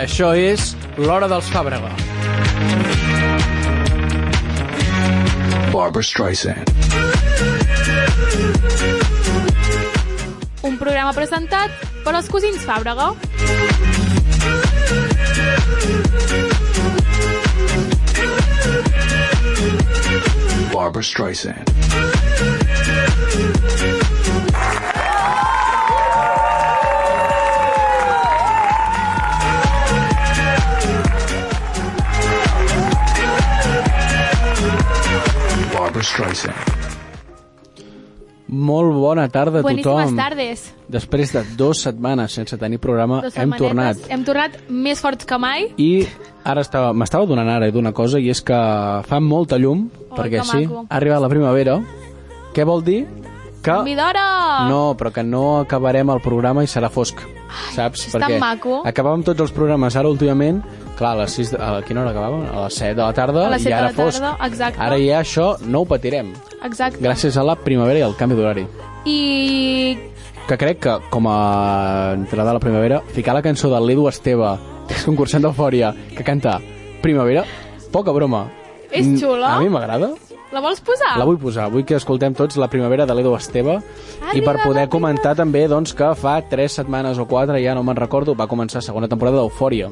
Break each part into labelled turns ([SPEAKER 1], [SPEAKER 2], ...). [SPEAKER 1] Això és l'Hora dels Fàbrega.
[SPEAKER 2] Barbara Streisand.
[SPEAKER 3] Un programa presentat per els cosins Fàbrega.
[SPEAKER 2] Barbara Streisand. Barbara Streisand.
[SPEAKER 1] Molt bona tarda a
[SPEAKER 3] Boníssimes
[SPEAKER 1] tothom.
[SPEAKER 3] tardes.
[SPEAKER 1] Després de dues setmanes sense tenir programa,
[SPEAKER 3] Dos
[SPEAKER 1] hem
[SPEAKER 3] setmanetes.
[SPEAKER 1] tornat.
[SPEAKER 3] Hem tornat més forts que mai.
[SPEAKER 1] I ara estava- m'estava donant ara eh, d'una cosa, i és que fa molta llum,
[SPEAKER 3] Oh,
[SPEAKER 1] perquè
[SPEAKER 3] que
[SPEAKER 1] sí,
[SPEAKER 3] maco.
[SPEAKER 1] ha arribat la primavera. Què vol dir? Que...
[SPEAKER 3] Oh. Midora!
[SPEAKER 1] No, però que no acabarem el programa i serà fosc, saps?
[SPEAKER 3] això és tan maco.
[SPEAKER 1] acabàvem tots els programes ara últimament, clar, a les 6 de, a quina hora acabàvem? A les 7 de la tarda
[SPEAKER 3] A les set
[SPEAKER 1] i
[SPEAKER 3] de
[SPEAKER 1] ara
[SPEAKER 3] la tarda,
[SPEAKER 1] fosc.
[SPEAKER 3] exacte.
[SPEAKER 1] Ara ja això no ho patirem,
[SPEAKER 3] Exacte.
[SPEAKER 1] gràcies a la primavera i al canvi d'horari.
[SPEAKER 3] I
[SPEAKER 1] Que crec que, com a entrada a la primavera, ficar la cançó de l'Edu Esteve, que és concursant d'Eufòria, que canta Primavera, poca broma.
[SPEAKER 3] És
[SPEAKER 1] Mm,
[SPEAKER 3] xula.
[SPEAKER 1] A mi m'agrada.
[SPEAKER 3] la vols posar?
[SPEAKER 1] La vull posar, vull que escoltem tots la primavera de l'Edu Esteve i
[SPEAKER 3] Arriba
[SPEAKER 1] per poder
[SPEAKER 3] la
[SPEAKER 1] comentar també doncs, que fa 3 setmanes o 4, ja no me'n recordo, va començar segona temporada d'Eufòria.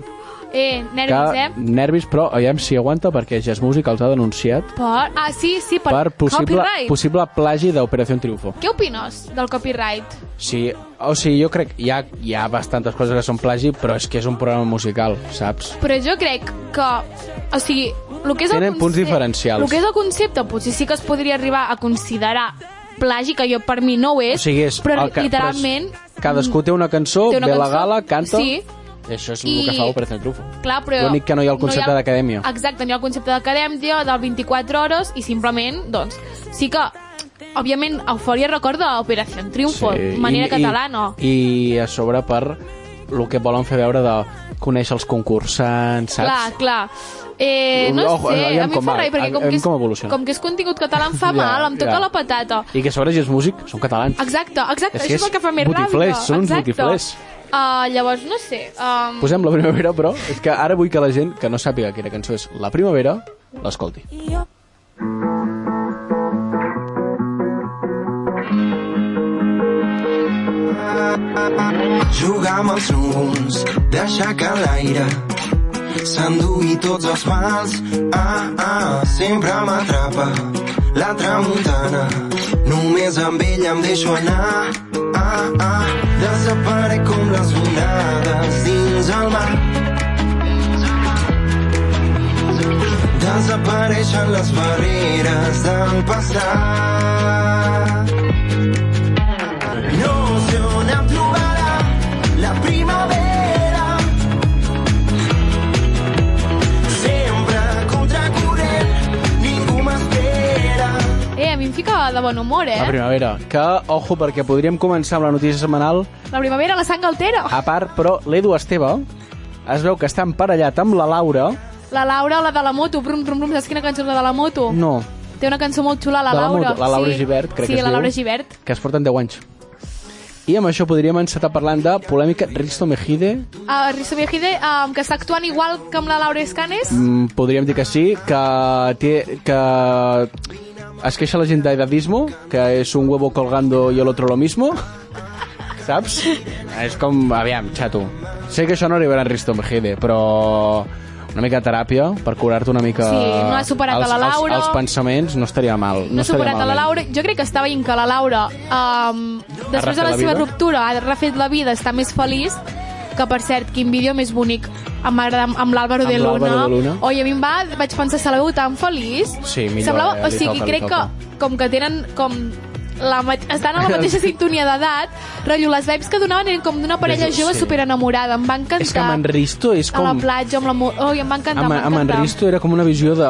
[SPEAKER 3] Eh,
[SPEAKER 1] Que
[SPEAKER 3] nervis, eh?
[SPEAKER 1] nervis, però aviam si aguanta perquè Jazz Music els ha denunciat
[SPEAKER 3] Per... Ah, sí, sí, per,
[SPEAKER 1] per possible,
[SPEAKER 3] copyright.
[SPEAKER 1] possible plagi d'Operació Triunfo.
[SPEAKER 3] Què opines del copyright?
[SPEAKER 1] Sí, o sigui, jo crec hi ha, hi ha bastantes coses que són plagi, però és que és un programa musical, saps?
[SPEAKER 3] Però jo crec que... O sigui, el que és el
[SPEAKER 1] Tenen punts
[SPEAKER 3] concep-
[SPEAKER 1] diferencials.
[SPEAKER 3] El que és el concepte, potser sí que es podria arribar a considerar plagi, que jo per mi no ho és,
[SPEAKER 1] O sigui, és
[SPEAKER 3] però
[SPEAKER 1] el que-
[SPEAKER 3] literalment...
[SPEAKER 1] però és- cadascú té una cançó,
[SPEAKER 3] Té una
[SPEAKER 1] ve a la
[SPEAKER 3] cançó,
[SPEAKER 1] Oh, gala, canta...
[SPEAKER 3] sí.
[SPEAKER 1] I això és el
[SPEAKER 3] I-
[SPEAKER 1] que fa Operació Triunfo.
[SPEAKER 3] Clar, però...
[SPEAKER 1] L'únic que no hi ha el concepte
[SPEAKER 3] no hi ha-
[SPEAKER 1] d'acadèmia.
[SPEAKER 3] Exacte, no hi ha el concepte d'acadèmia, del 24 hores, i simplement, doncs, sí que, òbviament, Eufòria recorda Operació Triunfo, manera catalana.
[SPEAKER 1] I, I a sobre per el que volen fer veure de conèixer els concursants, saps?
[SPEAKER 3] Clar, clar. Eh, no
[SPEAKER 1] Ojo,
[SPEAKER 3] sé,
[SPEAKER 1] aviam
[SPEAKER 3] a mi
[SPEAKER 1] com
[SPEAKER 3] em fa
[SPEAKER 1] va,
[SPEAKER 3] rai, perquè com
[SPEAKER 1] aviam
[SPEAKER 3] que, és,
[SPEAKER 1] com evoluciona.
[SPEAKER 3] com que és contingut català em fa
[SPEAKER 1] Ja,
[SPEAKER 3] mal, em toca
[SPEAKER 1] ja.
[SPEAKER 3] la patata.
[SPEAKER 1] I que a sobre és músic, són catalans.
[SPEAKER 3] Exacte, exacte,
[SPEAKER 1] És que
[SPEAKER 3] és això és
[SPEAKER 1] és
[SPEAKER 3] el que fa més
[SPEAKER 1] botiflers,
[SPEAKER 3] ràbia.
[SPEAKER 1] són uns
[SPEAKER 3] exacte.
[SPEAKER 1] botiflers.
[SPEAKER 3] Uh, llavors, no sé, um,
[SPEAKER 1] Posem la primavera, però és que ara vull que la gent que no sàpiga quina cançó és la primavera, l'escolti.
[SPEAKER 4] Jugar amb els núvols, deixar que l'aire s'endugui tots els mals. Ah, ah, sempre m'atrapa la tramuntana. Només amb ella em deixo anar. Ah, ah, desaparec com les onades dins el mar. Desapareixen les barreres del passat. No sé on em trobarà la primavera. Sempre contracorrent, ningú m'espera.
[SPEAKER 3] eh, a mi em fica de bon humor, eh?
[SPEAKER 1] La primavera, que, ojo, perquè podríem començar amb la notícia setmanal,
[SPEAKER 3] La primavera, la sang altera.
[SPEAKER 1] a part, però l'Edu Esteve es veu que està emparellat amb la Laura.
[SPEAKER 3] La Laura, la de la moto, brum, brum, brum, saps quina cançó és la de la moto?
[SPEAKER 1] No,
[SPEAKER 3] Té una cançó molt xula, Oh, la
[SPEAKER 1] de la,
[SPEAKER 3] Laura.
[SPEAKER 1] moto, la Laura Givert, crec
[SPEAKER 3] sí,
[SPEAKER 1] que es
[SPEAKER 3] la
[SPEAKER 1] diu.
[SPEAKER 3] Laura Givert.
[SPEAKER 1] Que es porten 10 anys. I amb això podríem encetar parlant de polèmica Risto Mejide,
[SPEAKER 3] Uh, Risto Viejide, um, que està actuant igual que amb la Laura Escanes.
[SPEAKER 1] Mm, podríem dir que sí, que, té, que es queixa la gent d'edadismo, que és un huevo colgando i el otro lo mismo, saps? És com, aviam, xato. Sé que això no arribarà a Risto Mejide, però una mica de teràpia per curar-te una mica...
[SPEAKER 3] Sí, no has superat
[SPEAKER 1] els,
[SPEAKER 3] a la Laura.
[SPEAKER 1] Els, els pensaments no estaria mal. No,
[SPEAKER 3] no
[SPEAKER 1] estaria
[SPEAKER 3] superat a la
[SPEAKER 1] malament.
[SPEAKER 3] Laura. Jo crec que està veient que la Laura, um, després de
[SPEAKER 1] refet
[SPEAKER 3] la,
[SPEAKER 1] la
[SPEAKER 3] seva
[SPEAKER 1] vida?
[SPEAKER 3] ruptura, ha refet la vida, està més feliç, que per cert, quin vídeo més bonic amb, m'agrada- amb l'Àlvaro
[SPEAKER 1] Amb
[SPEAKER 3] de,
[SPEAKER 1] l'Álvaro de Luna.
[SPEAKER 3] Luna. Oi, a mi em va, vaig pensar, se la veu tan feliç.
[SPEAKER 1] Sí, millor,
[SPEAKER 3] Semblava,
[SPEAKER 1] eh,
[SPEAKER 3] o
[SPEAKER 1] li
[SPEAKER 3] sigui,
[SPEAKER 1] toca, li
[SPEAKER 3] crec
[SPEAKER 1] toca.
[SPEAKER 3] que com que tenen com la, ma- estan a la mateixa sintonia d'edat, rotllo, les vibes que donaven eren com d'una parella
[SPEAKER 1] Sí.
[SPEAKER 3] jove superenamorada. Em va encantar.
[SPEAKER 1] És que amb en Risto és com...
[SPEAKER 3] A la platja, amb la... mo- Oi, em va encantar,
[SPEAKER 1] amb,
[SPEAKER 3] em va
[SPEAKER 1] amb en
[SPEAKER 3] encantar.
[SPEAKER 1] Risto era com una visió de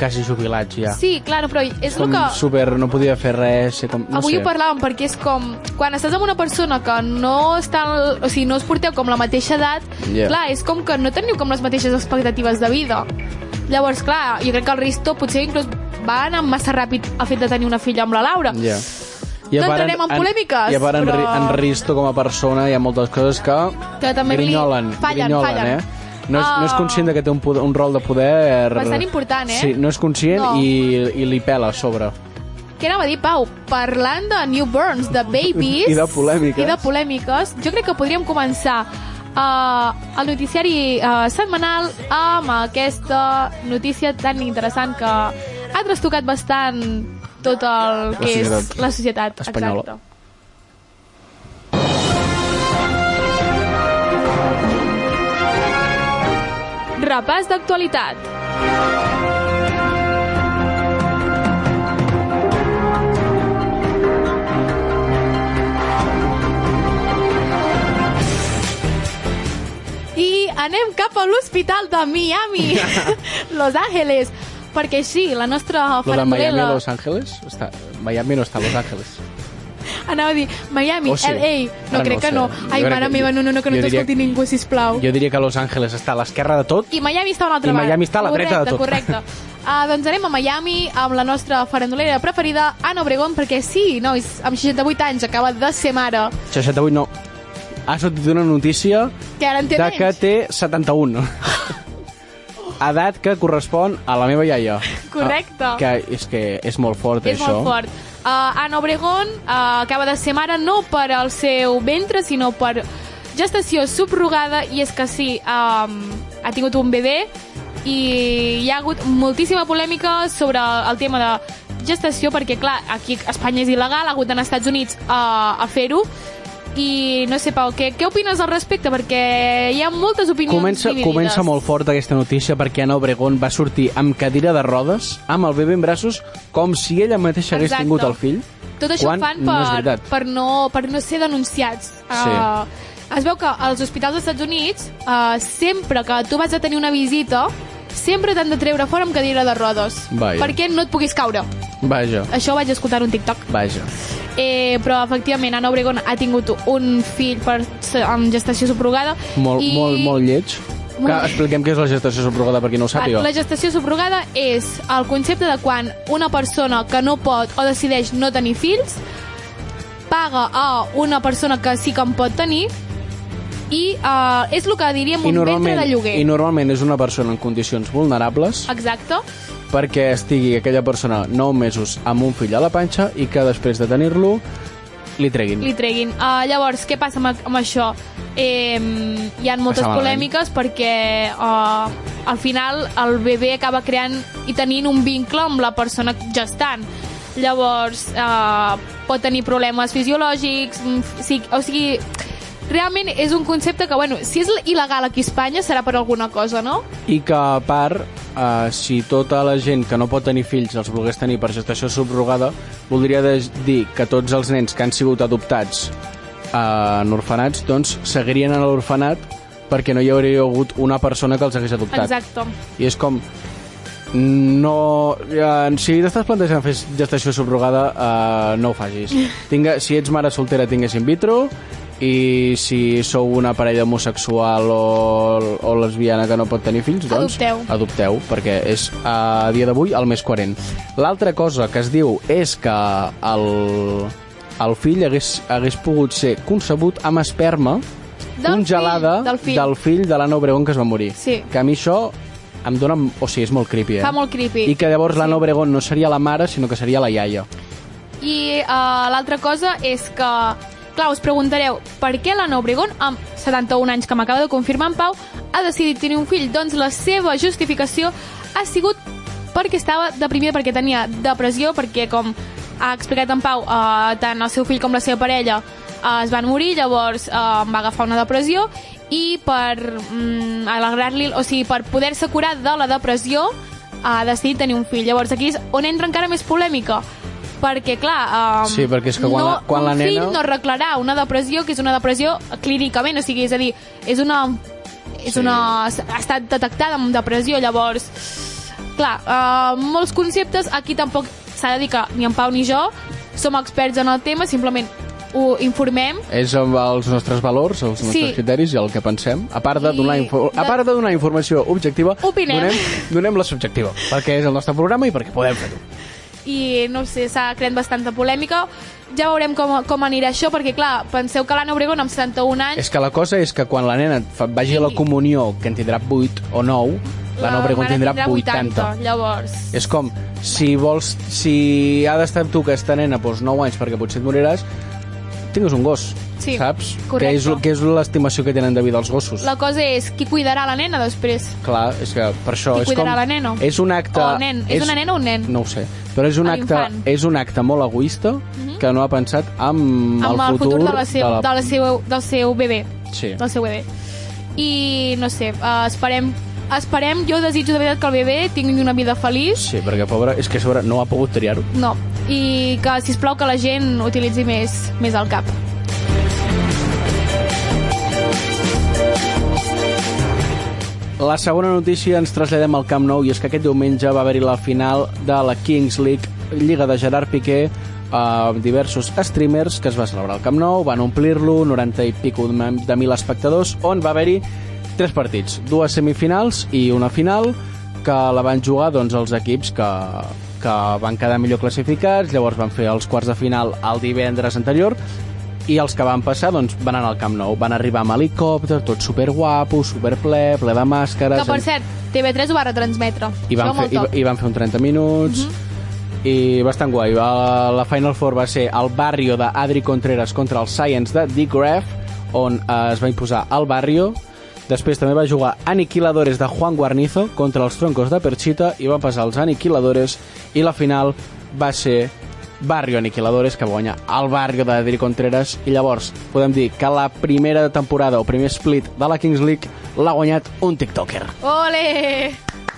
[SPEAKER 1] quasi jubilats ja.
[SPEAKER 3] Sí, clar, però és
[SPEAKER 1] com
[SPEAKER 3] el que...
[SPEAKER 1] super, no podia fer res, ser com, no
[SPEAKER 3] Avui
[SPEAKER 1] sé.
[SPEAKER 3] ho parlàvem perquè és com... Quan estàs amb una persona que no està... en- O sigui, no us porteu com la mateixa edat,
[SPEAKER 1] Yeah.
[SPEAKER 3] yeah. clar, és com que no teniu com les mateixes expectatives de vida. Llavors, clar, jo crec que el Risto potser inclús va anar massa ràpid a fet de tenir una filla amb la Laura.
[SPEAKER 1] Ja.
[SPEAKER 3] No entrarem en polèmiques,
[SPEAKER 1] I a part, en,
[SPEAKER 3] però-
[SPEAKER 1] Ri- en Risto com a persona hi ha moltes coses que,
[SPEAKER 3] Que també li-
[SPEAKER 1] grinyolen,
[SPEAKER 3] fallen,
[SPEAKER 1] grinyolen,
[SPEAKER 3] fallen.
[SPEAKER 1] eh? No és, no és
[SPEAKER 3] Ah.
[SPEAKER 1] conscient de que té un, poder, un rol de poder...
[SPEAKER 3] Bastant important, eh?
[SPEAKER 1] Sí, no és conscient
[SPEAKER 3] No.
[SPEAKER 1] i, i li pela a sobre.
[SPEAKER 3] Què anava a dir, Pau? Parlant de newborns, de babies...
[SPEAKER 1] I de polèmiques.
[SPEAKER 3] I de polèmiques, jo crec que podríem començar uh, el noticiari uh, setmanal amb aquesta notícia tan interessant que ha trastocat bastant tot el que
[SPEAKER 1] societat.
[SPEAKER 3] és la societat.
[SPEAKER 1] Espanyola.
[SPEAKER 3] Exacte. Repàs d'actualitat. I anem cap a l'hospital de Miami, Los Ángeles, perquè sí, la nostra
[SPEAKER 1] Lo de Miami
[SPEAKER 3] farandulera...
[SPEAKER 1] a Los Ángeles? Està, Miami no està a Los Ángeles.
[SPEAKER 3] Anava a dir Miami,
[SPEAKER 1] O Oh, sí.
[SPEAKER 3] LA... No,
[SPEAKER 1] Ara
[SPEAKER 3] crec
[SPEAKER 1] no
[SPEAKER 3] que
[SPEAKER 1] sé.
[SPEAKER 3] no.
[SPEAKER 1] Jo
[SPEAKER 3] Ai,
[SPEAKER 1] crec
[SPEAKER 3] mare
[SPEAKER 1] que-
[SPEAKER 3] meva, no, no, no, que no
[SPEAKER 1] jo diria-
[SPEAKER 3] t'escolti ningú, sisplau.
[SPEAKER 1] Jo diria que Los Ángeles està a l'esquerra de tot.
[SPEAKER 3] I Miami està a una
[SPEAKER 1] I
[SPEAKER 3] altra banda.
[SPEAKER 1] Miami està a la dreta de tot.
[SPEAKER 3] Correcte, correcte. Uh, doncs anem a Miami amb la nostra farandulera preferida, Anna Obregón, perquè sí, nois, amb 68 anys acaba de ser mare,
[SPEAKER 1] 68 no. Ha sortit una notícia
[SPEAKER 3] que ara en té
[SPEAKER 1] de
[SPEAKER 3] menys.
[SPEAKER 1] que té 71. Edat que correspon a la meva iaia.
[SPEAKER 3] Correcte.
[SPEAKER 1] Ah, Que és que és molt fort,
[SPEAKER 3] És
[SPEAKER 1] això.
[SPEAKER 3] molt fort. Uh, Anna Obregón uh, acaba de ser mare no per al seu ventre, sinó per gestació subrogada, i és que sí, um, ha tingut un bebè i hi ha hagut moltíssima polèmica sobre el tema de gestació, perquè, clar, aquí a Espanya és il·legal, ha hagut d'anar als Estats Units uh, a fer-ho, i no sé, Pau, què, què opines al respecte? Perquè hi ha moltes opinions
[SPEAKER 1] Comença,
[SPEAKER 3] dividides.
[SPEAKER 1] comença molt fort aquesta notícia perquè Anna Obregón va sortir amb cadira de rodes, amb el bebè en braços, com si ella mateixa hagués
[SPEAKER 3] Exacte.
[SPEAKER 1] tingut el fill.
[SPEAKER 3] Tot això
[SPEAKER 1] quan
[SPEAKER 3] ho fan
[SPEAKER 1] No és
[SPEAKER 3] per no,
[SPEAKER 1] veritat.
[SPEAKER 3] per, no, per no ser denunciats.
[SPEAKER 1] Sí.
[SPEAKER 3] Eh, es veu que als hospitals dels Estats Units, uh, sempre que tu vas a tenir una visita, sempre t'han de treure fora amb cadira de rodes.
[SPEAKER 1] Vaja.
[SPEAKER 3] Perquè no et puguis caure.
[SPEAKER 1] Vaja,
[SPEAKER 3] Això ho vaig escoltar en un TikTok.
[SPEAKER 1] vaja.
[SPEAKER 3] Eh, però, efectivament, Anna Obregón ha tingut un fill per, amb gestació subrogada.
[SPEAKER 1] Molt,
[SPEAKER 3] i...
[SPEAKER 1] molt, molt lleig.
[SPEAKER 3] Molt
[SPEAKER 1] Que
[SPEAKER 3] bé.
[SPEAKER 1] expliquem què és la gestació subrogada per qui no ho sàpiga.
[SPEAKER 3] La gestació subrogada és el concepte de quan una persona que no pot o decideix no tenir fills paga a una persona que sí que en pot tenir i eh, és el que diríem un ventre de lloguer.
[SPEAKER 1] I normalment és una persona en condicions vulnerables
[SPEAKER 3] Exacte.
[SPEAKER 1] perquè estigui aquella persona 9 mesos amb un fill a la panxa i que després de tenir-lo li treguin.
[SPEAKER 3] li treguin. Uh, llavors, què passa amb, amb això? Eh, hi ha moltes
[SPEAKER 1] Passa malament.
[SPEAKER 3] polèmiques perquè uh, al final el bebè acaba creant i tenint un vincle amb la persona gestant. Llavors, uh, pot tenir problemes fisiològics, mm, sí, o sigui, realment és un concepte que, bueno, si és il·legal aquí a Espanya serà per alguna cosa, no?
[SPEAKER 1] I que, a part, eh, si tota la gent que no pot tenir fills els volgués tenir per gestació subrogada, voldria des- dir que tots els nens que han sigut adoptats eh, en orfenats, doncs, seguirien en l'orfenat perquè no hi hauria hagut una persona que els hagués adoptat.
[SPEAKER 3] Exacte.
[SPEAKER 1] I és com... No... eh, Si t'estàs plantejant fer gestació subrogada, eh, no ho facis. Tinga, si ets mare soltera, tingues in vitro, i si sou una parella homosexual o, o lesbiana que no pot tenir fills, doncs...
[SPEAKER 3] Adopteu.
[SPEAKER 1] Adopteu, perquè és a dia d'avui el més coherent. L'altra cosa que es diu és que el, el fill hagués, hagués pogut ser concebut amb esperma
[SPEAKER 3] Del
[SPEAKER 1] congelada
[SPEAKER 3] fill, del fill.
[SPEAKER 1] del fill de l'Anna Obregón que es va morir.
[SPEAKER 3] Sí.
[SPEAKER 1] Que a mi això em dona... O sigui, és molt creepy, eh?
[SPEAKER 3] Fa molt creepy.
[SPEAKER 1] I que llavors l'Anna Obregón no seria la mare, sinó que seria la iaia.
[SPEAKER 3] I uh, l'altra cosa és que, clar, us preguntareu per què l'Anna Obregón, amb 71 anys que m'acaba de confirmar en Pau, ha decidit tenir un fill? Doncs la seva justificació ha sigut perquè estava deprimida, perquè tenia depressió, perquè, com ha explicat en Pau, uh, tant el seu fill com la seva parella uh, es van morir, llavors uh, va agafar una depressió i per mm, alegrar-li, o sigui, per poder-se curar de la depressió ha decidit tenir un fill. Llavors aquí és on entra encara més polèmica, perquè, clar... Um,
[SPEAKER 1] Sí, perquè és que quan
[SPEAKER 3] no,
[SPEAKER 1] la- quan
[SPEAKER 3] un
[SPEAKER 1] la nena-
[SPEAKER 3] fill no arreglarà una depressió que és una depressió clínicament, o sigui, és a dir, és una... És
[SPEAKER 1] Sí.
[SPEAKER 3] una ha estat detectada amb depressió, llavors... Clar, uh, molts conceptes, aquí tampoc s'ha de dir que ni en Pau ni jo som experts en el tema, simplement ho informem
[SPEAKER 1] És amb els nostres valors, els nostres
[SPEAKER 3] Sí.
[SPEAKER 1] criteris i el que pensem. A part de,
[SPEAKER 3] I
[SPEAKER 1] donar, info... a
[SPEAKER 3] de-
[SPEAKER 1] part de donar informació objectiva,
[SPEAKER 3] Opinem.
[SPEAKER 1] Donem, donem la subjectiva, perquè és el nostre programa i perquè podem fer-ho.
[SPEAKER 3] i no ho sé, s'ha creat bastanta polèmica. Ja veurem com, com anirà això, perquè clar, penseu que l'Anna Obregón amb 71 anys...
[SPEAKER 1] És que la cosa és que quan la nena fa, vagi a la comunió, que en tindrà 8 o 9, la, la Obregón
[SPEAKER 3] mare
[SPEAKER 1] tindrà 80.
[SPEAKER 3] Llavors,
[SPEAKER 1] És com, si vols, si ha d'estar amb tu aquesta nena doncs, 9 anys perquè potser et moriràs, tingues un gos,
[SPEAKER 3] Sí,
[SPEAKER 1] saps?
[SPEAKER 3] correcte.
[SPEAKER 1] Que és, l- que és l'estimació que tenen de vida els gossos.
[SPEAKER 3] la cosa és qui cuidarà la nena després.
[SPEAKER 1] Clar, és que per això...
[SPEAKER 3] Qui
[SPEAKER 1] és
[SPEAKER 3] cuidarà
[SPEAKER 1] com,
[SPEAKER 3] la nena?
[SPEAKER 1] És un acte...
[SPEAKER 3] O el nen. És una nena o un nen?
[SPEAKER 1] No ho sé. Però és un,
[SPEAKER 3] O
[SPEAKER 1] acte,
[SPEAKER 3] l'infant. Mhm.
[SPEAKER 1] és un acte molt egoista que no ha pensat en
[SPEAKER 3] amb
[SPEAKER 1] el futur,
[SPEAKER 3] de la seu, de la... De la seu, del seu bebè.
[SPEAKER 1] Sí.
[SPEAKER 3] Del seu bebè. I, no sé, eh, esperem... Esperem, jo desitjo de veritat que el bebè tingui una vida feliç.
[SPEAKER 1] Sí, perquè pobre, és que a sobre no ha pogut triar-ho.
[SPEAKER 3] No. I que, si plau que la gent utilitzi més, més el cap.
[SPEAKER 1] La segona notícia ens traslladem al Camp Nou i és que aquest diumenge va haver-hi la final de la Kings League, Lliga de Gerard Piqué, amb diversos streamers que es va celebrar al Camp Nou, van omplir-lo, 90 i pico de de mil espectadors, on va haver-hi tres partits, dues semifinals i una final, que la van jugar doncs, els equips que, que van quedar millor classificats, llavors van fer els quarts de final el divendres anterior, i els que van passar doncs, van anar al Camp Nou. Van arribar amb helicòpter, tot superguapo, superple, ple de màscares...
[SPEAKER 3] Que, per cert, TV3 ho va retransmetre.
[SPEAKER 1] i van, fer,
[SPEAKER 3] Això molt
[SPEAKER 1] i,
[SPEAKER 3] top.
[SPEAKER 1] va- i van fer un 30 minuts... I bastant guai. Va, la Final Four va ser el barrio d'Adri Contreras contra el Science de Dick Graf, on eh, es va imposar el barrio. Després també va jugar Aniquiladores de Juan Guarnizo contra els Troncos de Perchita i van passar els Aniquiladores i la final va ser Barrio Aniquiladores que guanya el barrio d'Adri Contreras i llavors podem dir que la primera temporada o primer split de la Kings League l'ha guanyat un tiktoker.
[SPEAKER 3] Ole!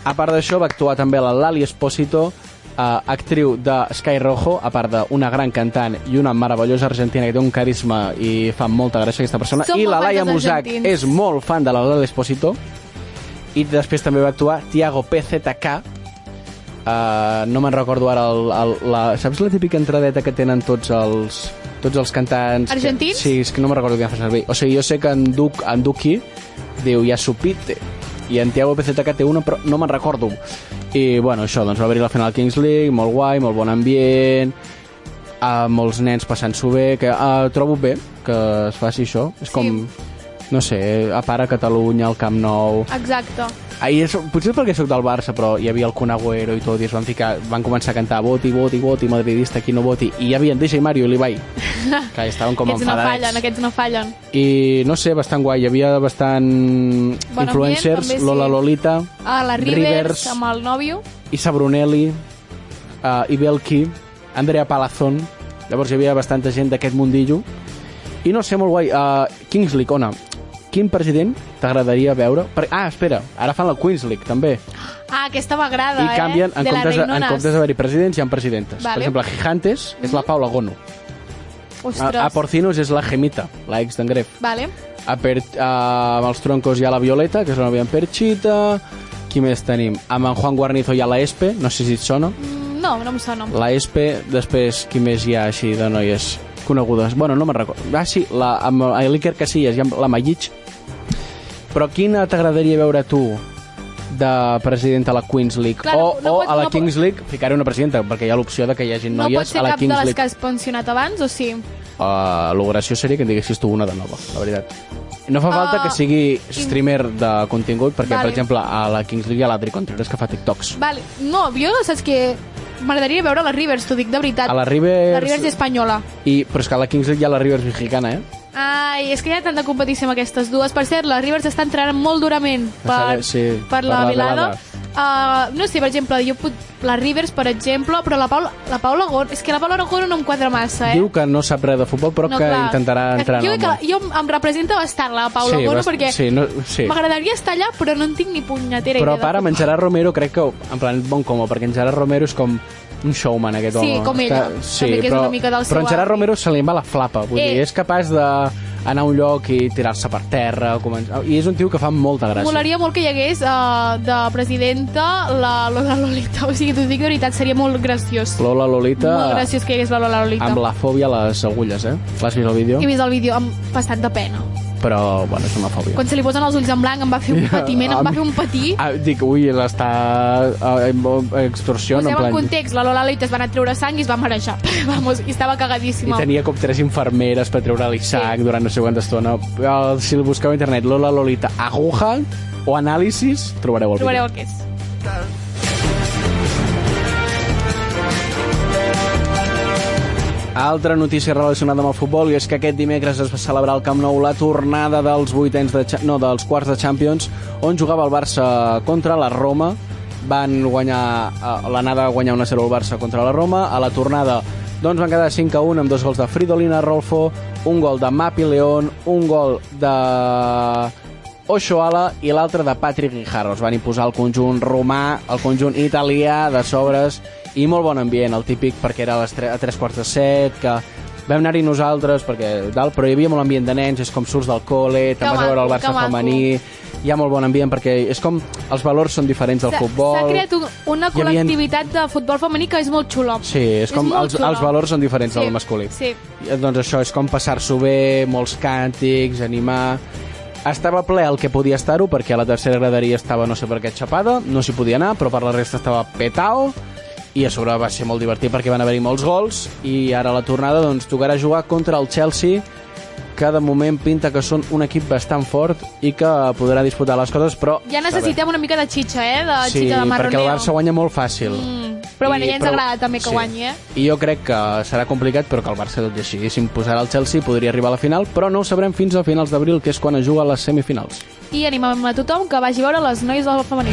[SPEAKER 1] A part d'això, va actuar també la Lali Espósito, eh, actriu de Sky Rojo, a part d'una gran cantant i una meravellosa argentina que té un carisma i fa molta gràcia aquesta persona.
[SPEAKER 3] Som
[SPEAKER 1] I
[SPEAKER 3] molt
[SPEAKER 1] la
[SPEAKER 3] fans
[SPEAKER 1] Laia
[SPEAKER 3] dels
[SPEAKER 1] Musac
[SPEAKER 3] argentins.
[SPEAKER 1] és molt fan de la Lali Espósito. I després també va actuar Tiago PZK, Uh, no me'n recordo ara el, el, la... Saps la típica entradeta que tenen tots els, tots els cantants? que-
[SPEAKER 3] Argentins?
[SPEAKER 1] sí, és que no me'n recordo què fa servir. O sigui, jo sé que en, Duc, en Duki diu ja supite i en Tiago PZK té una, però no me'n recordo. I, bueno, això, doncs va haver-hi la final Kings League, molt guai, molt bon ambient, a molts nens passant-s'ho bé, que uh, trobo bé que es faci això. És com, no sé, a part a Catalunya, al Camp Nou...
[SPEAKER 3] Exacte.
[SPEAKER 1] Ahir, és- potser és perquè sóc del Barça, però hi havia el Kun Agüero i tot, i es van, ficar, van començar a cantar voti, voti, voti, madridista, qui no voti, i hi havia en Deixa i Mario i l'Ibai, que estaven com
[SPEAKER 3] aquests no fallen,
[SPEAKER 1] enfadats.
[SPEAKER 3] aquests no fallen.
[SPEAKER 1] I no sé, bastant guai, hi havia bastant
[SPEAKER 3] ambient,
[SPEAKER 1] influencers,
[SPEAKER 3] també sí. Ah.
[SPEAKER 1] Lola Lolita,
[SPEAKER 3] A la Rivers,
[SPEAKER 1] Rivers.
[SPEAKER 3] amb el nòvio.
[SPEAKER 1] Isa Brunelli, uh, Ibelki, Andrea Palazón, llavors hi havia bastanta gent d'aquest mundillo, i no sé, molt guai, uh, Kings League, Ona, quin president t'agradaria veure? Per... Ah, espera, ara fan la Queens League, també.
[SPEAKER 3] Ah, aquesta m'agrada,
[SPEAKER 1] i
[SPEAKER 3] eh?
[SPEAKER 1] canvien, en
[SPEAKER 3] de la
[SPEAKER 1] comptes, de, en
[SPEAKER 3] Reinonas.
[SPEAKER 1] comptes d'haver-hi presidents, hi ha presidentes.
[SPEAKER 3] Vale. Mm-hmm.
[SPEAKER 1] Per exemple, Gigantes és la Paula Gono. A,
[SPEAKER 3] Ostres.
[SPEAKER 1] a Porcinos és la Gemita, la ex d'en Gref.
[SPEAKER 3] Vale.
[SPEAKER 1] A per, a, amb els troncos hi ha la Violeta, que és la novia en Perchita. Qui més tenim? Amb en Juan Guarnizo hi ha la Espe, no sé si et sona.
[SPEAKER 3] Mm, No, no em sona.
[SPEAKER 1] La Espe, després, qui més hi ha així de noies conegudes? Bueno, no me'n recordo. Ah, sí, la, amb l'Iker Casillas i amb la Mayic. Però quina t'agradaria veure tu de presidenta a la Queens League
[SPEAKER 3] Clar, no-
[SPEAKER 1] o,
[SPEAKER 3] no
[SPEAKER 1] o
[SPEAKER 3] pot-
[SPEAKER 1] a la
[SPEAKER 3] no pot-
[SPEAKER 1] Kings League ficaré una presidenta perquè hi ha l'opció de que hi hagi
[SPEAKER 3] no pot
[SPEAKER 1] noies
[SPEAKER 3] ser
[SPEAKER 1] a la
[SPEAKER 3] cap de
[SPEAKER 1] Kings
[SPEAKER 3] les que
[SPEAKER 1] League
[SPEAKER 3] has pensionat abans, o sí?
[SPEAKER 1] uh, l'ogració seria que en diguessis tu una de nova la veritat no fa falta
[SPEAKER 3] Ah,
[SPEAKER 1] que sigui streamer de contingut perquè
[SPEAKER 3] Vale.
[SPEAKER 1] per exemple a la Kings League hi ha l'Adri Contreras que fa TikToks
[SPEAKER 3] Vale. No, jo saps que m'agradaria veure la Rivers, t'ho dic de veritat.
[SPEAKER 1] a la Rivers,
[SPEAKER 3] La Rivers és espanyola.
[SPEAKER 1] i, però és que a la Kings League hi ha la Rivers mexicana eh?
[SPEAKER 3] Ai, és que hi ha tanta competició amb aquestes dues. Per cert, la Rivers està entrant molt durament per,
[SPEAKER 1] Sí,
[SPEAKER 3] per la, velada. Uh, no sé, per exemple, jo pot... la Rivers, per exemple, però la Paula, la Paula Gon... És que la Paula Gon no em quadra massa, eh?
[SPEAKER 1] Diu que no sap res de futbol, però
[SPEAKER 3] no,
[SPEAKER 1] que
[SPEAKER 3] clar.
[SPEAKER 1] intentarà entrar
[SPEAKER 3] jo,
[SPEAKER 1] en el
[SPEAKER 3] crec
[SPEAKER 1] món.
[SPEAKER 3] que, jo em- em representa bastant la Paula
[SPEAKER 1] sí,
[SPEAKER 3] Gon,
[SPEAKER 1] bast-
[SPEAKER 3] perquè
[SPEAKER 1] Sí, no, sí.
[SPEAKER 3] m'agradaria estar allà, però no en tinc ni punyetera
[SPEAKER 1] Però
[SPEAKER 3] idea.
[SPEAKER 1] a part, amb en Gerard Romero crec que, en plan, bon como, perquè en Gerard Romero és com un showman, aquest
[SPEAKER 3] Sí,
[SPEAKER 1] home.
[SPEAKER 3] com
[SPEAKER 1] És
[SPEAKER 3] ella.
[SPEAKER 1] sí,
[SPEAKER 3] També que és
[SPEAKER 1] però,
[SPEAKER 3] una mica del seu
[SPEAKER 1] però en Gerard
[SPEAKER 3] art.
[SPEAKER 1] Romero se li en va la flapa. Vull
[SPEAKER 3] Eh.
[SPEAKER 1] dir, és capaç de anar a un lloc i tirar-se per terra. Començar... I és un tio que fa molta gràcia.
[SPEAKER 3] Molaria molt que hi hagués uh, de presidenta la Lola Lolita. O sigui, t'ho dic de veritat, seria molt graciós.
[SPEAKER 1] Lola Lolita,
[SPEAKER 3] Molt graciós que hi hagués la Lola Lolita.
[SPEAKER 1] amb la fòbia a les agulles, eh? L'has vist el vídeo?
[SPEAKER 3] He vist el vídeo amb bastant de pena.
[SPEAKER 1] però, bueno, és una fòbia.
[SPEAKER 3] Quan se li posen els ulls en blanc em va fer un patiment, em va fer un patí.
[SPEAKER 1] Ah, dic, ui, l'està eh, extorsiona,
[SPEAKER 3] Poseu
[SPEAKER 1] en
[SPEAKER 3] en
[SPEAKER 1] plan...
[SPEAKER 3] context, la Lola Leite es van a treure sang i es va marejar. Vamos, i estava
[SPEAKER 1] I
[SPEAKER 3] cagadíssima.
[SPEAKER 1] tenia com tres infermeres per treure-li sang
[SPEAKER 3] Sí.
[SPEAKER 1] durant no sé quanta estona. El, si el busqueu a internet, Lola Lolita Aguja o Anàlisis, trobareu el
[SPEAKER 3] Trobareu
[SPEAKER 1] vídeo.
[SPEAKER 3] el que és.
[SPEAKER 1] Altra notícia relacionada amb el futbol i és que aquest dimecres es va celebrar al Camp Nou la tornada dels vuitens de, Cha- no, dels quarts de Champions, on jugava el Barça contra la Roma. Van guanyar, eh, l'anada va guanyar 1-0 el Barça contra la Roma. A la tornada doncs van quedar 5 a 1 amb dos gols de Fridolina Rolfo, un gol de Mapi León, un gol de Oshoala i l'altre de Patrick Guijarro. Es van imposar el conjunt romà, el conjunt italià de sobres i molt bon ambient, el típic perquè era a, les tre a tres quarts de set, que vam anar-hi nosaltres perquè dalt, però hi havia molt ambient de nens, és com surts del col·le, te'n vas a
[SPEAKER 3] maco,
[SPEAKER 1] veure el
[SPEAKER 3] que
[SPEAKER 1] Barça
[SPEAKER 3] maco.
[SPEAKER 1] femení, hi ha molt bon ambient perquè és com els valors són diferents del
[SPEAKER 3] S'ha-
[SPEAKER 1] futbol.
[SPEAKER 3] S'ha creat un, una
[SPEAKER 1] Hi havia-
[SPEAKER 3] col·lectivitat de futbol femení que és molt xula.
[SPEAKER 1] Sí, és com
[SPEAKER 3] molt
[SPEAKER 1] els,
[SPEAKER 3] xula.
[SPEAKER 1] els valors són diferents
[SPEAKER 3] Sí,
[SPEAKER 1] del masculí.
[SPEAKER 3] sí.
[SPEAKER 1] I, Doncs això, és com passar-s'ho bé, molts càntics, animar... Estava ple el que podia estar-ho, perquè a la tercera graderia estava no sé per què xapada, no s'hi podia anar, però per la resta estava petao, i a sobre va ser molt divertit perquè van haver-hi molts gols, i ara a la tornada doncs, tocarà jugar contra el Chelsea, que de moment pinta que són un equip bastant fort i que podrà disputar les coses, però...
[SPEAKER 3] Ja necessitem una mica de xitxa, eh? De
[SPEAKER 1] sí,
[SPEAKER 3] xitxa de marroneo.
[SPEAKER 1] perquè el Barça guanya molt fàcil.
[SPEAKER 3] Mm, però bueno,
[SPEAKER 1] I-
[SPEAKER 3] ja ens agrada també que guanyi, eh?
[SPEAKER 1] I jo crec que serà complicat, però que el Barça, tot i així, s'imposarà al Chelsea, podria arribar a la final, però no ho sabrem fins a finals d'abril, que és quan es juga a les semifinals.
[SPEAKER 3] I animem a tothom que vagi a veure les noies del femení.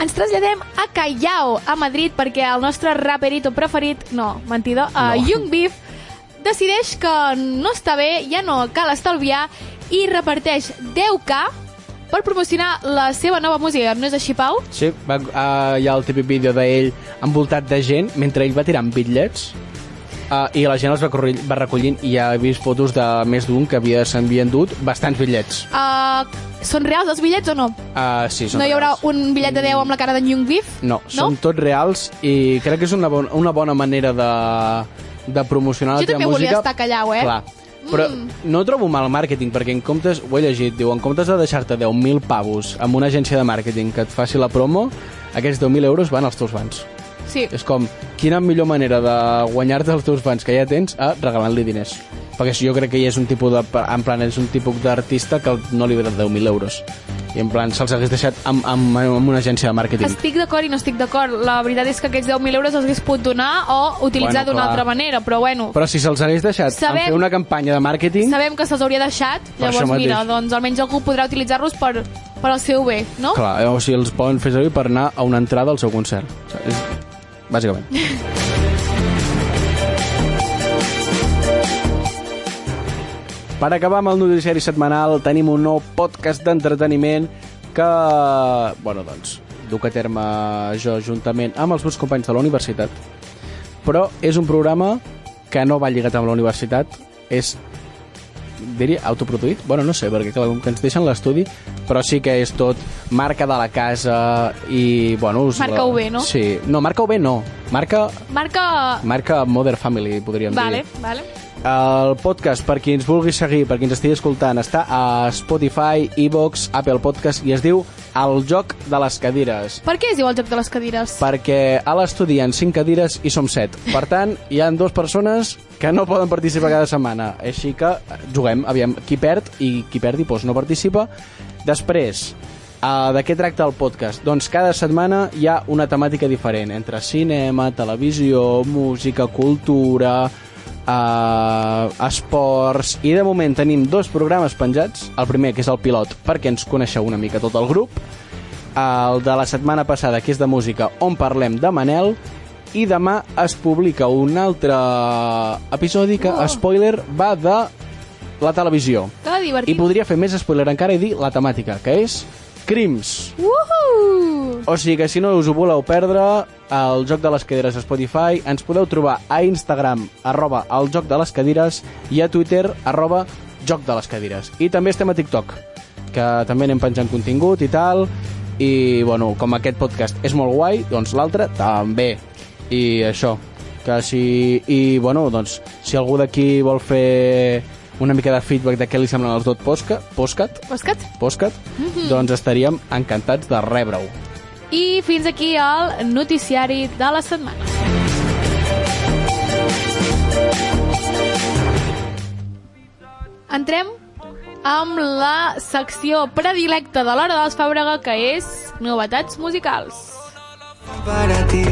[SPEAKER 3] Ens traslladem a Callao, a Madrid, perquè el nostre raperito preferit, no, mentida, no. Uh, Young Beef, decideix que no està bé, ja no cal estalviar, i reparteix 10K per promocionar la seva nova música. No és així, Pau?
[SPEAKER 1] Sí, va, uh, hi ha el típic vídeo d'ell envoltat de gent, mentre ell va tirant bitllets, uh, i la gent els va, corri- va recollint, i ja he vist fotos de més d'un que havia s'havia endut bastants bitllets.
[SPEAKER 3] Uh, són reals els bitllets o no?
[SPEAKER 1] Uh, sí, són
[SPEAKER 3] no hi haurà
[SPEAKER 1] reals.
[SPEAKER 3] un bitllet de 10 amb la cara de Young Beef?
[SPEAKER 1] No, són tots reals i crec que és una, bon, una bona manera de, de promocionar
[SPEAKER 3] Jo
[SPEAKER 1] la teva
[SPEAKER 3] també volia
[SPEAKER 1] música.
[SPEAKER 3] estar callau, eh? Mm.
[SPEAKER 1] Clar. Però no trobo mal màrqueting, perquè en comptes, ho he llegit, diu, en comptes de deixar-te 10.000 pavos amb una agència de màrqueting que et faci la promo, aquests 10.000 euros van als teus fans.
[SPEAKER 3] Sí.
[SPEAKER 1] És com, quina millor manera de guanyar-te els teus fans que ja tens a regalant-li diners. Perquè si jo crec que ell és un tipus de... En plan, és un tipus d'artista que no li ve de 10.000 euros. I en plan, se'ls hagués deixat amb, amb, amb una agència de màrqueting.
[SPEAKER 3] Estic d'acord i no estic d'acord. La veritat és que aquests 10.000 euros els hagués pogut donar o utilitzar
[SPEAKER 1] Bueno,
[SPEAKER 3] d'una
[SPEAKER 1] clar.
[SPEAKER 3] altra manera, però bueno,
[SPEAKER 1] Però si se'ls hagués deixat Sabem...
[SPEAKER 3] Sabem-
[SPEAKER 1] en fer una campanya de màrqueting...
[SPEAKER 3] sabem que se'ls hauria deixat,
[SPEAKER 1] Per
[SPEAKER 3] llavors
[SPEAKER 1] això mateix.
[SPEAKER 3] mira, doncs almenys algú podrà utilitzar-los per, per al seu bé, no?
[SPEAKER 1] Clar, eh, o sigui, els poden fer servir per anar a una entrada al seu concert. O sigui, és... Bàsicament. Per acabar amb el noticiari setmanal, tenim un nou podcast d'entreteniment que, bueno, doncs, duc a terme jo juntament amb els meus companys de la universitat. Però és un programa que no va lligat amb la universitat, és diria autoproduït, bueno, no sé, perquè clar, com que ens deixen l'estudi, però sí que és tot marca de la casa i, bueno... Us
[SPEAKER 3] Marca UB, no?
[SPEAKER 1] Sí, no, marca UB no, marca,
[SPEAKER 3] Marca...
[SPEAKER 1] marca Mother Family, podríem
[SPEAKER 3] Vale,
[SPEAKER 1] dir.
[SPEAKER 3] vale.
[SPEAKER 1] El podcast, per qui ens vulgui seguir, per qui ens estigui escoltant, està a Spotify, Evox, Apple Podcast i es diu El joc de les cadires
[SPEAKER 3] Per què es diu el joc de les cadires?
[SPEAKER 1] perquè a l'estudi hi ha 5 cadires i som 7. Per tant, hi han dues persones que no poden participar cada setmana. Així que eh, juguem, aviam, qui perd i qui perdi doncs, no participa. Després, uh, de què tracta el podcast? Doncs cada setmana hi ha una temàtica diferent, entre cinema, televisió, música, cultura, uh, esports... I de moment tenim dos programes penjats. El primer, que és el pilot, perquè ens coneixeu una mica tot el grup, el de la setmana passada, que és de música, on parlem de Manel, i demà es publica un altre episodi que, oh. spoiler, va de la televisió.
[SPEAKER 3] Que
[SPEAKER 1] I
[SPEAKER 3] divertit.
[SPEAKER 1] podria fer més spoiler encara i dir la temàtica, que és crims.
[SPEAKER 3] Uhu!
[SPEAKER 1] O sigui que si no us ho voleu perdre, el Joc de les Cadires a Spotify, ens podeu trobar a Instagram, arroba el Joc de les Cadires, i a Twitter, arroba Joc de les Cadires. I també estem a TikTok, que també anem penjant contingut i tal, i, bueno, com aquest podcast és molt guai, doncs l'altre també. I això, Que si, I, bueno, doncs, si algú d'aquí vol fer una mica de feedback de què li semblen els dos posca, postcat,
[SPEAKER 3] Pescat.
[SPEAKER 1] postcat doncs estaríem encantats de rebre-ho.
[SPEAKER 3] I fins aquí el noticiari de la setmana. Entrem amb la secció predilecta de l'Hora dels Fàbrega, que és novetats musicals.
[SPEAKER 4] para ti.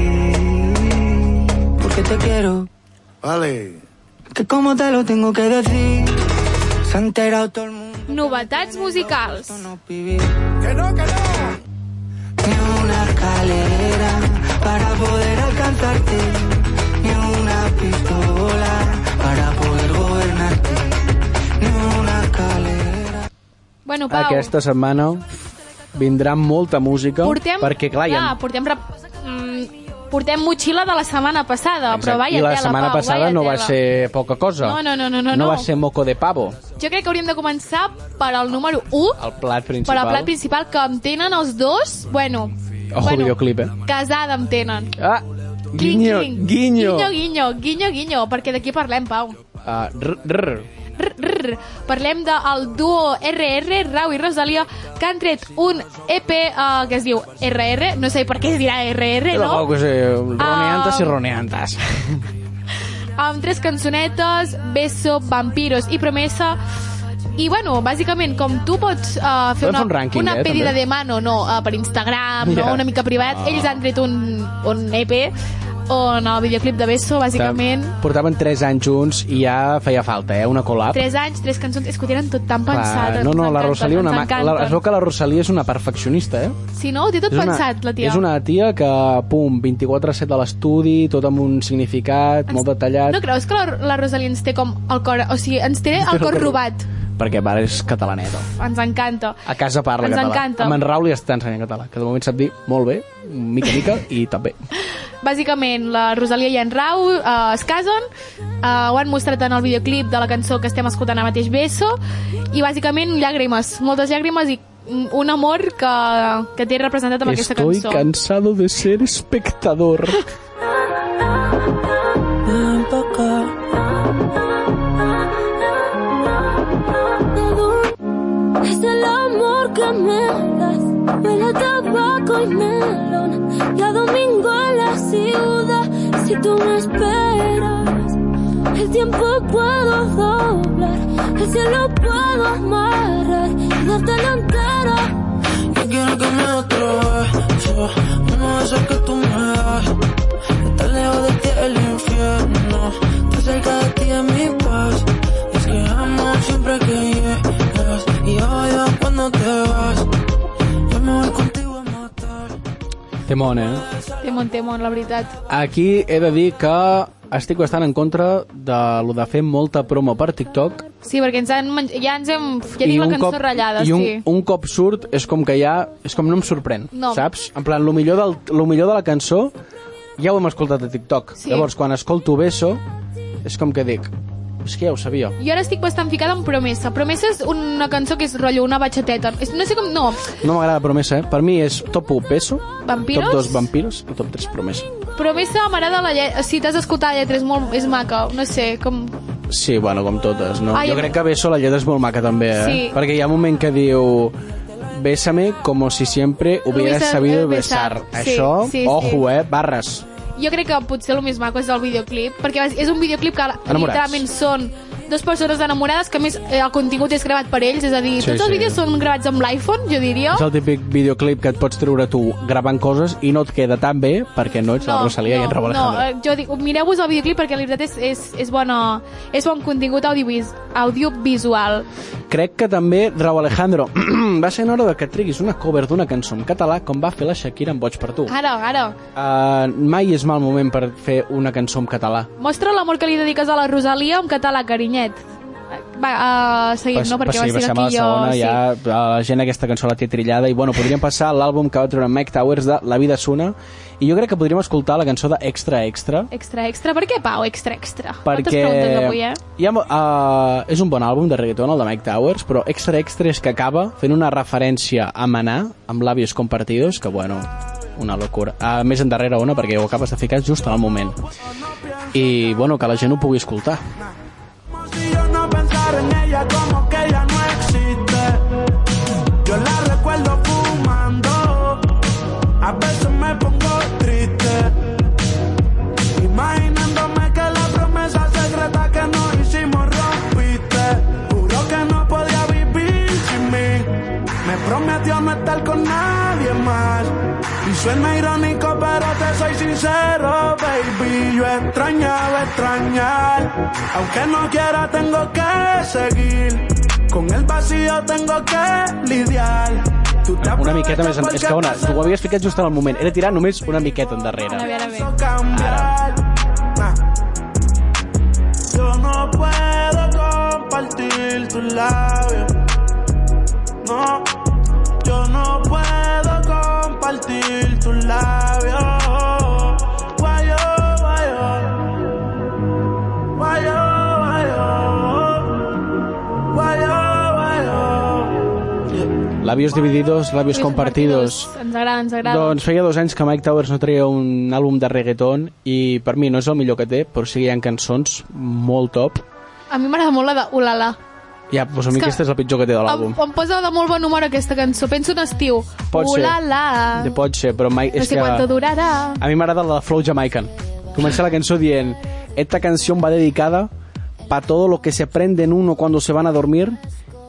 [SPEAKER 4] Porque te quiero.
[SPEAKER 5] Vale.
[SPEAKER 4] Que como te lo tengo que decir. Se ha enterado todo el mundo.
[SPEAKER 3] Novetats musicals.
[SPEAKER 4] Esto no viví. Ni una escalera para poder alcanzarte. Ni una pistola para poder gobernarte. Ni una escalera.
[SPEAKER 3] Bueno, Pau,
[SPEAKER 1] Aquesta setmana vindrà molta música
[SPEAKER 3] portem...
[SPEAKER 1] perquè clar, hi ha-
[SPEAKER 3] clar, portem... Rep... Mm, portem motxilla de la setmana passada, però
[SPEAKER 1] Exacte.
[SPEAKER 3] vaia
[SPEAKER 1] i la
[SPEAKER 3] tela,
[SPEAKER 1] setmana
[SPEAKER 3] Pau,
[SPEAKER 1] passada
[SPEAKER 3] vaia
[SPEAKER 1] no va
[SPEAKER 3] tela.
[SPEAKER 1] ser poca cosa.
[SPEAKER 3] No, no, no, no, no,
[SPEAKER 1] No va
[SPEAKER 3] no.
[SPEAKER 1] ser moco de pavo,
[SPEAKER 3] Jo crec que hauríem de començar per al número 1,
[SPEAKER 1] el plat
[SPEAKER 3] per
[SPEAKER 1] principal.
[SPEAKER 3] al plat principal que em tenen els dos, bueno,
[SPEAKER 1] Oh, videoclip, eh?
[SPEAKER 3] casada em tenen.
[SPEAKER 1] Ah,
[SPEAKER 3] Cling,
[SPEAKER 1] guinyo,
[SPEAKER 3] cling.
[SPEAKER 1] guinyo.
[SPEAKER 3] Guinyo, guinyo, guinyo, guinyo, perquè d'aquí parlem, Pau.
[SPEAKER 1] Ah, rr, rr.
[SPEAKER 3] Rr, rr. Parlem del duo RR, Rau i Rosalia, que han tret un EP eh, que es diu RR, no sé per què es dirà RR,
[SPEAKER 1] Però,
[SPEAKER 3] no?
[SPEAKER 1] que sé, roneantes
[SPEAKER 3] Ah.
[SPEAKER 1] i roneantes.
[SPEAKER 3] Amb tres cançonetes, Beso, Vampiros i Promesa, i, bueno, bàsicament, com tu pots uh, fer
[SPEAKER 1] Podem
[SPEAKER 3] una,
[SPEAKER 1] fer un rànquing,
[SPEAKER 3] una
[SPEAKER 1] eh,
[SPEAKER 3] pedida
[SPEAKER 1] també.
[SPEAKER 3] de mano no, uh, per Instagram,
[SPEAKER 1] Ja.
[SPEAKER 3] no, una mica privat, ells han tret un, un EP on el videoclip de Beso, bàsicament...
[SPEAKER 1] Portaven 3 anys junts i ja feia falta, eh, una collab.
[SPEAKER 3] 3 anys, 3 cançons, és que ho tenen tot tan
[SPEAKER 1] Clar,
[SPEAKER 3] pensat.
[SPEAKER 1] no, no, la
[SPEAKER 3] ens
[SPEAKER 1] Rosalia una
[SPEAKER 3] encanten, ens
[SPEAKER 1] ma... la, es
[SPEAKER 3] encanten.
[SPEAKER 1] veu que la Rosalia és una perfeccionista, eh?
[SPEAKER 3] Sí, no? Ho té tot
[SPEAKER 1] És una-
[SPEAKER 3] pensat, la tia.
[SPEAKER 1] És una tia que, pum, 24-7 a l'estudi, tot amb un significat, molt detallat.
[SPEAKER 3] No creus que la, la Rosalia ens té com el cor... O sigui, ens té el cor robat.
[SPEAKER 1] perquè mare és catalaneta.
[SPEAKER 3] Ens encanta.
[SPEAKER 1] A casa parla
[SPEAKER 3] Ens
[SPEAKER 1] català.
[SPEAKER 3] encanta.
[SPEAKER 1] Amb en Raül ja està ensenyant català, que de moment sap dir molt bé, mica a mica, i també.
[SPEAKER 3] Bàsicament, la Rosalia i en Rau eh, es casen, eh, ho han mostrat en el videoclip de la cançó que estem escoltant ara mateix, Beso, i bàsicament llàgrimes, moltes llàgrimes i mm, un amor que, que té representat amb aquesta
[SPEAKER 1] Estoy
[SPEAKER 3] cançó.
[SPEAKER 1] cansado de ser espectador.
[SPEAKER 6] Es el amor que me das. Huele a tabaco y melón. Ya domingo en la ciudad. Si tú me esperas, el tiempo puedo doblar. El cielo puedo amarrar. Y darte la entera.
[SPEAKER 4] Yo quiero que me dé otro beso, uno de esos que tú me das. Estar lejos de ti el infierno, estar cerca de ti es mi paz. Es que amo siempre que llegas y odio cuando te vas. Yo me voy contigo a matar.
[SPEAKER 1] Temón, eh?
[SPEAKER 3] Temon, temon, la veritat.
[SPEAKER 1] Aquí he de dir que estic bastant en contra de lo de fer molta promo per TikTok
[SPEAKER 3] Sí, perquè ens han, men- ja ens hem... Ja tinc la cançó ratllada,
[SPEAKER 1] i un,
[SPEAKER 3] sí.
[SPEAKER 1] un cop surt és com que ja és com no em sorprèn
[SPEAKER 3] No.
[SPEAKER 1] saps? en plan, lo millor, del, lo millor de la cançó ja ho hem escoltat a TikTok
[SPEAKER 3] Sí.
[SPEAKER 1] llavors quan escolto Beso és com que dic, és que ja ho sabia
[SPEAKER 3] Jo ara estic bastant ficada en Promesa. Promesa és una cançó que és rotllo una batxateta. És, no sé com... No.
[SPEAKER 1] no m'agrada Promesa, eh? per mi és top 1 Beso
[SPEAKER 3] Vampiros?
[SPEAKER 1] top 2 Vampiros i top 3 Promesa
[SPEAKER 3] Promesa m'agrada la lletra. Si t'has escoltat la lletra és, molt, és maca. No sé, com...
[SPEAKER 1] sí, bueno, com totes no?
[SPEAKER 3] Ai,
[SPEAKER 1] jo
[SPEAKER 3] em-
[SPEAKER 1] crec que Beso la lletra és molt maca també eh?
[SPEAKER 3] Sí.
[SPEAKER 1] perquè hi ha un moment que diu Bésame como si siempre hubieras
[SPEAKER 3] Hubieses, eh,
[SPEAKER 1] sabido
[SPEAKER 3] besar.
[SPEAKER 1] besar.
[SPEAKER 3] Sí,
[SPEAKER 1] Això,
[SPEAKER 3] sí, sí.
[SPEAKER 1] ojo, eh? Barres.
[SPEAKER 3] Jo crec que potser el més maco és el videoclip, perquè bàs- és un videoclip que
[SPEAKER 1] Enamorats.
[SPEAKER 3] literalment són dues persones enamorades, que a més eh, el contingut és gravat per ells, és a dir,
[SPEAKER 1] Sí,
[SPEAKER 3] tots els
[SPEAKER 1] sí.
[SPEAKER 3] vídeos són gravats amb l'iPhone, jo diria.
[SPEAKER 1] És el típic videoclip que et pots treure tu gravant coses i no et queda tan bé perquè no ets la Rosalia i en Raúl
[SPEAKER 3] no,
[SPEAKER 1] Alejandro.
[SPEAKER 3] eh, jo dic, mireu-vos el videoclip perquè la veritat és, és, és, bona, és bon contingut audiovis, audiovisual.
[SPEAKER 1] Crec que també Raúl Alejandro va ser en hora de que triguis una cover d'una cançó en català com va fer la Shakira en Boig per tu.
[SPEAKER 3] Ara, ara,
[SPEAKER 1] Uh, mai és mal moment per fer una cançó en català.
[SPEAKER 3] Mostra l'amor que li dediques a la Rosalia en català, carinyet. Va, uh, seguim,
[SPEAKER 1] Pas-
[SPEAKER 3] no? Perquè
[SPEAKER 1] passi-
[SPEAKER 3] va ser
[SPEAKER 1] passem a la
[SPEAKER 3] aquí jo...
[SPEAKER 1] segona,
[SPEAKER 3] sí.
[SPEAKER 1] ja, eh, la gent aquesta cançó la té trillada i bueno, podríem passar a l'àlbum que va treure Mike Towers de La vida sona i jo crec que podríem escoltar la cançó de Extra Extra
[SPEAKER 3] Extra, extra. Per què, Pau? Extra, extra. Moltes
[SPEAKER 1] perquè
[SPEAKER 3] preguntes avui, eh?
[SPEAKER 1] hi ha, mo- eh, és un bon àlbum de reggaeton, el de Mike Towers, però extra extra és que acaba fent una referència a Maná, amb làbios compartidos, que bueno, Una locura. Uh, més endarrere una, perquè ho acabes de ficar just en el moment. I, bueno, que la gent ho pugui escoltar.
[SPEAKER 5] Como si yo no pensara en ella, como que ella no existe. Yo la recuerdo fumando, a veces me pongo triste. Imaginándome que la promesa secreta que nos hicimos rompiste. Juró que no podía vivir sin mí. Me prometió no estar con nadie más. Y suena irónico, pero te soy sincero, baby. Yo extrañaba extrañar. Aunque no quiera, tengo que seguir. Con el vacío tengo que lidiar. Tú te
[SPEAKER 1] Una miqueta més... En...
[SPEAKER 5] aprovechas
[SPEAKER 1] És que, ona,
[SPEAKER 5] porque
[SPEAKER 1] ho havies ficat just en el moment. Era tirar només una miqueta
[SPEAKER 3] Ara
[SPEAKER 1] endarrere.
[SPEAKER 3] bé, ara bé.
[SPEAKER 5] pienso cambiar. Ah. Yo no puedo compartir tus labios. No, yo no puedo compartir tus labios. Guayo, guayo. Guayo, guayo. Guayo, guayo. Yeah.
[SPEAKER 1] Labios divididos, labios compartidos.
[SPEAKER 3] Ens agrada, ens agrada.
[SPEAKER 1] Doncs feia dos anys que Mike Towers no treia un àlbum de reggaeton i per mi no és el millor que té, però sí que hi ha cançons molt top.
[SPEAKER 3] A mi m'agrada molt la de Ulala.
[SPEAKER 1] Ja, doncs pues a mi
[SPEAKER 3] És que-
[SPEAKER 1] aquesta és la pitjor que té de
[SPEAKER 3] Em,
[SPEAKER 1] l'àlbum.
[SPEAKER 3] em posa de molt bon humor aquesta cançó. Penso en estiu.
[SPEAKER 1] Pot ser.
[SPEAKER 3] Ulala.
[SPEAKER 1] De pot ser, però mai...
[SPEAKER 3] No
[SPEAKER 1] és
[SPEAKER 3] sé
[SPEAKER 1] que...
[SPEAKER 3] quanto durarà.
[SPEAKER 1] A mi m'agrada la de Flow Jamaican. Comença la cançó dient Esta canción va dedicada pa todo lo que se prenden uno cuando se van a dormir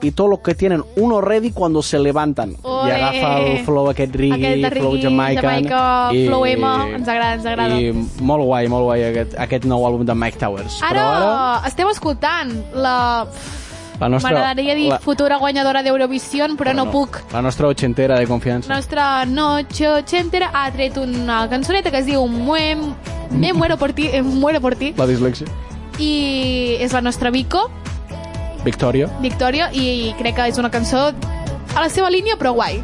[SPEAKER 1] y todo lo que tienen uno ready cuando se levantan.
[SPEAKER 3] Ole.
[SPEAKER 1] I agafa el flow aquest reggae,
[SPEAKER 3] Aquest de
[SPEAKER 1] flow
[SPEAKER 3] reggae,
[SPEAKER 1] Jamaican.
[SPEAKER 3] Jamaica, flow emo. Ens agrada, ens agrada.
[SPEAKER 1] I molt guai, molt guai aquest, aquest nou àlbum de Mike Towers.
[SPEAKER 3] Ara,
[SPEAKER 1] Però ara
[SPEAKER 3] estem escoltant la...
[SPEAKER 1] la nostra...
[SPEAKER 3] M'agradaria dir
[SPEAKER 1] la-
[SPEAKER 3] futura guanyadora d'Eurovisió, però no, puc.
[SPEAKER 1] La nostra ochentera de confiança.
[SPEAKER 3] La nostra noche ochentera ha tret una cançoneta que es diu Me, me muero por ti, eh, muero por ti,
[SPEAKER 1] La dislexia.
[SPEAKER 3] i és la nostra Vico,
[SPEAKER 1] Victòria.
[SPEAKER 3] Victòria, i crec que és una cançó a la seva línia, però guai.